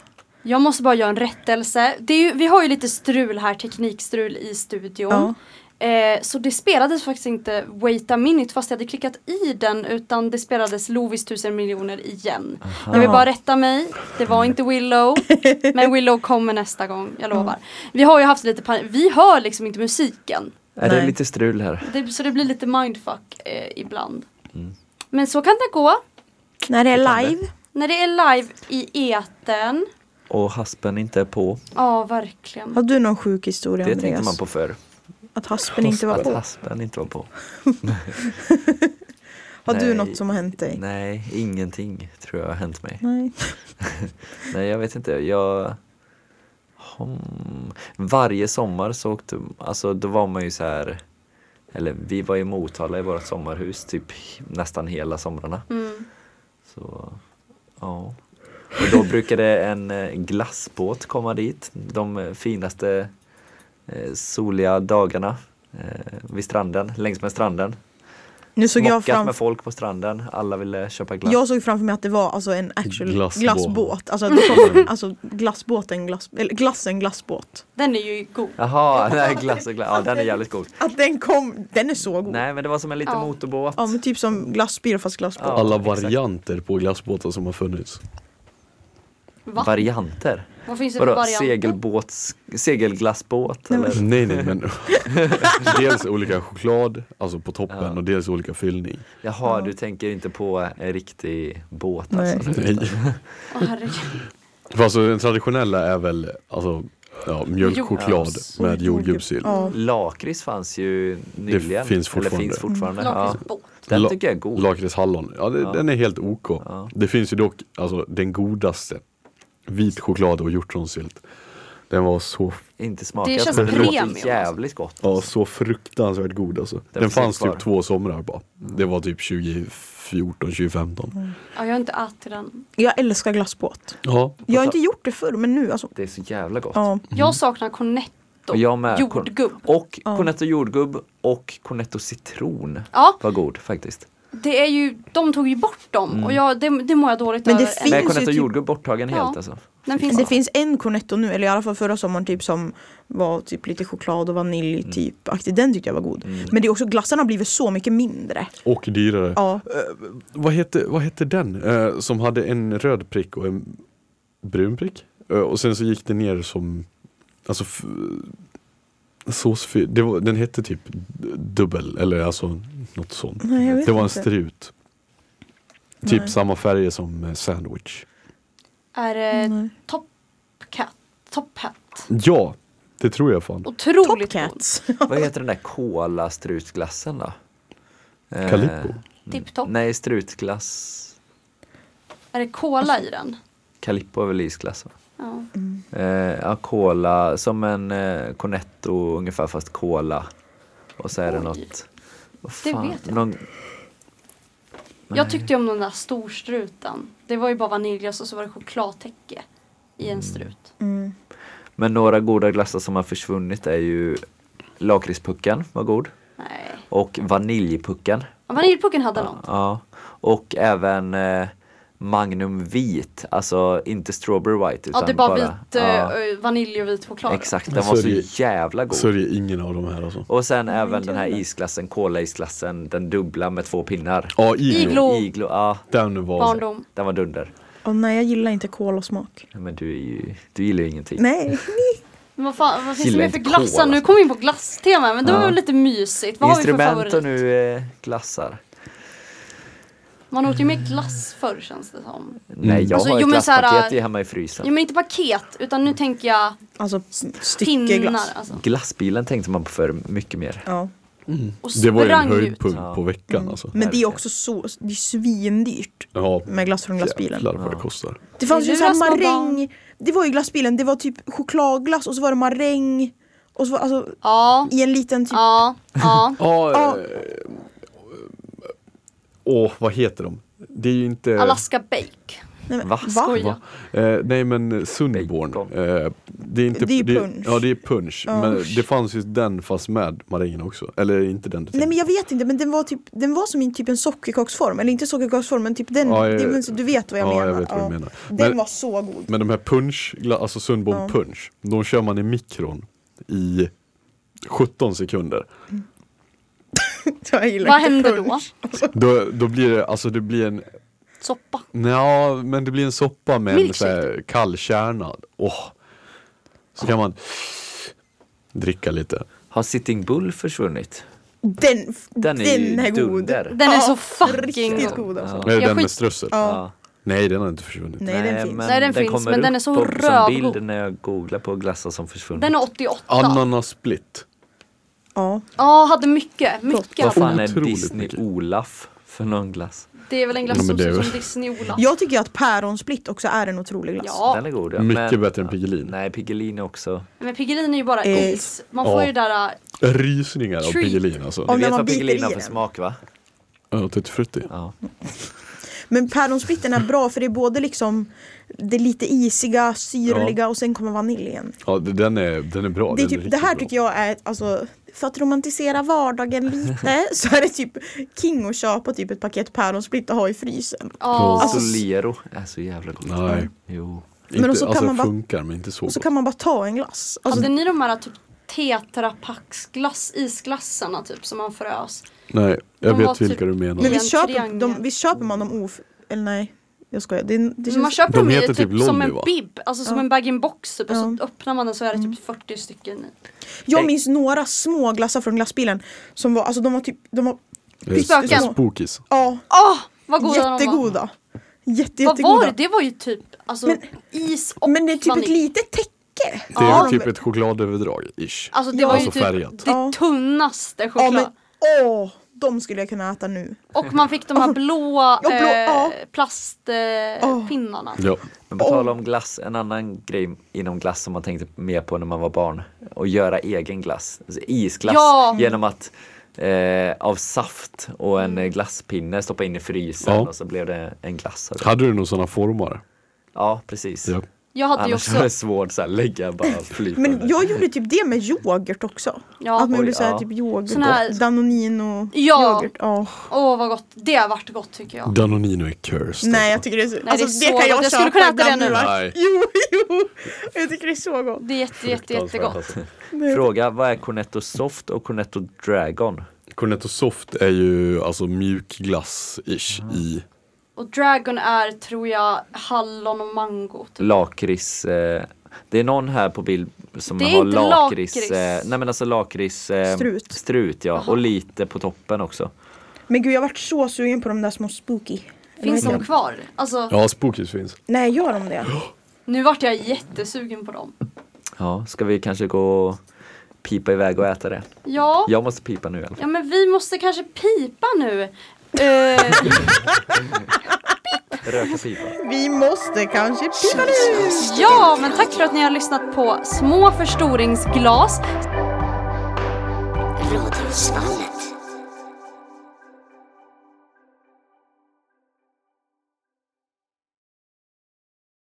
Jag måste bara göra en rättelse. Det är ju, vi har ju lite strul här, teknikstrul i studion. Eh, så det spelades faktiskt inte Wait a minute fast jag hade klickat i den utan det spelades Lovis tusen miljoner igen. Jag vill bara rätta mig. Det var inte Willow. men Willow kommer nästa gång, jag lovar. Vi har ju haft lite panik. Vi hör liksom inte musiken. Är det Nej. lite strul här? Det, så det blir lite mindfuck eh, ibland. Men så kan det gå. När det är live. När det är live i etern. Och haspen inte är på. Ja, verkligen. Har du någon sjuk historia Det Andreas? tänkte man på förr. Att haspen inte var Att på. haspen inte var på. Har du Nej. något som har hänt dig? Nej, ingenting tror jag har hänt mig. Nej. [laughs] Nej, jag vet inte. Jag... Hmm. Varje sommar så åkte... Alltså, då var man ju så här... Eller vi var i Motala i vårt Mm. sommarhus typ nästan hela somrarna. Mm. Så, ja. Och då brukade en eh, glassbåt komma dit de eh, finaste eh, soliga dagarna eh, vid stranden, längs med stranden. Nu såg jag Mockat fram med folk på stranden, alla ville köpa glass. jag såg framför mig att det var alltså en actual Glassbåt. glassbåt. [laughs] Alltså, att det kom, alltså glassbåten, glass, eller glassen glassbåt. Den är ju god. Jaha, [laughs] nej, glass och glass, ja den är jävligt god. Att den kom, den är så god. Nej men det var som en liten Ja. motorbåt. Ja men typ som glassbil fast glassbåt. Ja, Alla exakt. varianter på glassbåtar som har funnits. Va? Varianter? Vad finns det för Vadå, varianter? segelbåts, segelglassbåt eller? Nej nej men [laughs] dels olika choklad, alltså på toppen och dels olika fyllning. Jaha, du tänker inte på en riktig båt Nej. alltså? nu, Nej. utan- Åh, [laughs] herregud. För alltså den traditionella är väl alltså ja, mjölkchoklad Jordgubbs. med jordgubbssill. Ja. Lakrits fanns ju nyligen. finns Eller fortfarande. finns fortfarande. Mm, Ja. Lakritsbåt. Den La- tycker jag är god. Lakritshallon, ja, det, den är helt OK. Det finns ju dock alltså, den godaste. Vit choklad och hjortronsylt. Den var så, Inte smakat Det känns men det premium, låter alltså. jävligt gott. ja, så fruktansvärt god alltså. Den, finns fanns kvar. typ två somrar bara. Det var typ 2014, 2015. Ja, jag har inte ätit den. Mm. Jag älskar glassbåt. Ja. Jag har inte gjort det förr men nu alltså. Det är så jävla gott. Ja. Jag saknar cornetto. Och jag med. Jordgubb. Och cornetto jordgubb och cornetto citron Ja, var god faktiskt. det är ju, de tog ju bort dem Mm. och jag, det, det mår jag dåligt Men det över. finns Nej, ju cornetto typ- jordgubb borttagen Ja. helt alltså. Den finns Det finns en cornetto nu, eller i alla fall förra sommaren typ som var typ lite choklad och vanilj typ aktig. Den tyckte jag var god. Men det är också glassarna har blivit så mycket mindre. Och dyrare. Ja. Vad, hette, vad hette den eh, som hade en röd prick och en brun prick? Eh, och sen så gick det ner som alltså f- såsfy- det var, Den hette typ d- dubbel eller alltså något sånt. Nej, jag vet det var en inte. strut. Typ samma färger som eh, sandwich. Är eh, det Nej. top cat? Top hat. Ja, det tror jag fan. Otroligt god. Topcats. Vad heter den där kolastrutglassen då? Eh, Calippo. Tipptopp. Nej, strutglass. Är det Alltså- cola i den? Calippo är väl isglass? Va? Ja. Eh, ja, cola, som en eh, cornetto ungefär fast cola. Och så är det Oj. något... Vad Det fan, vet jag någon, Jag tyckte ju om den där storstruten. Det var ju bara vaniljglass och så var det chokladtäcke i en strut. Mm. Men några goda glassar som har försvunnit är ju lakritspucken var god. Nej. Och vaniljpucken. Ja, Vaniljpucken hade något. Ja. Och även eh, Magnum vit, alltså inte strawberry white. Utan Ja, det är bara vit, ja, eh, vanilj och vit choklad. Exakt, den Alltså, var så det- jävla god. Så det är ingen av de här alltså. Och sen även den här isglassen, kolaisglassen, den dubbla med två pinnar. Ja, iglo. Iglo. Oh. Iglo, ja. Den var... Barndom. Den var dunder. Åh, nej, jag gillar inte kolasmak. Nej, Men du, är ju, du gillar ju ingenting. Nej. Men vad, fan, vad finns det Gillar mer för inte glassar? kola. Nu kom vi in på glasstema, men det var alltså. Ja. väl lite mysigt. Vad har vi för Instrument och favorit? nu eh, glassar. Mm. Man åt ju mer glass förr känns det som. Nej, jag Alltså, har jo, ett men så här, glasspaket äh, i hemma i Ja, frysen. men inte paket, utan nu tänker jag Alltså pinnar. styckeglass. Alltså. Glassbilen tänkte man på för mycket mer. Ja. Och Det var ju en sprang ut. höjdpunkt Ja. på veckan alltså. Men det är Verkligen. också så, det är svindyrt Ja, med glass från glassbilen. jävlar vad det kostar. Det fanns ju Det så luras här man barn. maräng, det var ju glassbilen, det var typ chokladglass och så var det maräng och så var, alltså, Ja, i en liten typ ja, [laughs] ja. Ja, Ja. eh, eh, Åh, vad heter de? Det är ju inte... Alaska Bake. Nej, men, Va? va? Skoja. Va? Eh, nej men Sundborn. Bacon. Eh, det är inte... Det är punch. ja, det är punch. Men det fanns ju den fast med marängen också. Eller inte den du Nej tänkte. men jag vet inte, men den var, typ, den var som en, typ en sockerkaksform, eller inte sockerkaksform men typ den, Ja, jag- det, men, så du vet vad jag ja, jag menar. vet vad du menar. Den Men- var så god. Men de här punch, gla- alltså Sundborn punch, de kör man i mikron i 17 sekunder. [laughs] Jag gillar Vad inte händer punch. då? Då, då blir det, alltså det blir en, Soppa. nja, men det blir en soppa med en så Milkshake. här kall kärna. Åh. Så kan man dricka lite. Har Sitting Bull försvunnit? Den, Den den är är, ju god. dunder. Den är Ja, så fucking Riktigt god. god alltså. Är det Jag den med skit- strössel? Ja. Nej, den har inte försvunnit. Nej, den finns. Nej, den finns, kommer men den upp är så på- Som rövgod. bild när jag googlar på glassar som försvunnit. Den är 88. Ananas split. Ja. Ja, hade mycket. Mycket Vad hade den. fan är Otroligt Disney mycket. Olaf för någon glass? Det är väl en glass Ja, som men det ser är ut väl- som Disney-Ola. Jag tycker ju att päronsplitt också är en otrolig glass. Ja, Den är god ja. Mycket bättre än Piggelin. Nej, Piggelin är också. men Piggelin är ju bara Eh, is. Man får ja. ju det där, äh, Rysningar av Treat. Piggelin alltså. Du när vet man vad biter Piggelin i typ har för den. smak va? Ja, tutti frutti. Ja. Men päronsplitten är bra för det är både liksom det lite isiga, syrliga och sen kommer vanilj igen. Ja, d- den är, den är bra. det, är den är typ, det riktigt här bra. tycker jag är, alltså, för att romantisera vardagen lite [laughs] så är det typ king att köpa typ ett paket päronsplitt och ha i frysen. Ja. Alltså, Solero är så jävla gott. Nej. Jo. Inte, och så kan alltså, man bara- funkar men inte så Och så gott. kan man bara ta en glass. Alltså, Hade ni de här typ tetrapacksglass, isglassarna typ som man frös? Nej, jag De var vet typ- vilka du menar. men i visst en köper, triangel. de, visst köper man dem of... Eller nej, jag skojar. Det, det Man känns, köper de dem ju heter typ, typ Lolli, som en va? bib, alltså som Ja. en bag-in-box typ och så Ja. Mm. öppnar man den så är det typ 40 stycken i. jag minns några små glassar från glassbilen som var, alltså de var typ, de var, Eh, Spöken. Spookies. ja, Åh, vad goda de var! jättegoda. Jätte, Vad var jättegoda. det? Det var ju typ alltså, Men- is och Men det är typ ett vanilj. litet täcke. Det är Ja. typ ett chokladöverdrag, ish. Alltså det Ja. var ju Alltså typ färgat. det Ja. tunnaste Ja choklad. men åh, de skulle jag kunna äta nu. Och man fick de här blåa Alltså, Ja, blå- ja. eh, plastpinnarna. Eh, Ja. pinnarna. Ja. Men på tal om glass, en annan grej inom glass som man tänkte mer på när man var barn. Att göra egen glass, alltså isglass, Ja. genom att eh, av saft och en eh, glasspinne stoppa in i frysen Ja. och så blev det en glass. av det. Hade du någon sån här formare? Ja, precis. Ja. Jag hade ju Annars var också, det svårt så här, lägga bara flytande. Men jag gjorde typ det med yoghurt också. Ja. att man Oj, gjorde såhär ja. typ yoghurt, Sån här- danonino, Ja. yoghurt. Ja. åh vad gott, det har varit gott tycker jag. Danonino är cursed. Nej jag tycker det är så, det är alltså, så det, kan gott. jag, Jag skulle köpa kunna äta det ibland nu. va? Nej. Jo, jo, jag tycker det är så gott. Det är jätte, jätte, jättegott. Fråga, vad är Cornetto Soft och Cornetto Dragon? Cornetto soft är ju alltså mjuk glass-ish i. Och dragon är tror jag hallon och mango. Typ. Lakrits. Eh, det är någon här på bild som Det är har inte lakrits. lakrits. Eh, nej men alltså lakrits. Eh, Strut. Strut ja, och lite på toppen också. Men gud jag vart så sugen på de där små spooky. Finns Eller vad heter de kvar? Alltså, Ja, spookies finns. Nej gör de det? nu vart jag jättesugen på dem. Ja, ska vi kanske gå och pipa iväg och äta det? Ja, Jag måste pipa nu i alla fall. ja men vi måste kanske pipa nu. Eh, Röka pipa. Vi måste kanske pipa nu. ja, men tack för att ni har lyssnat på Små förstoringsglas. Rådhusvallen.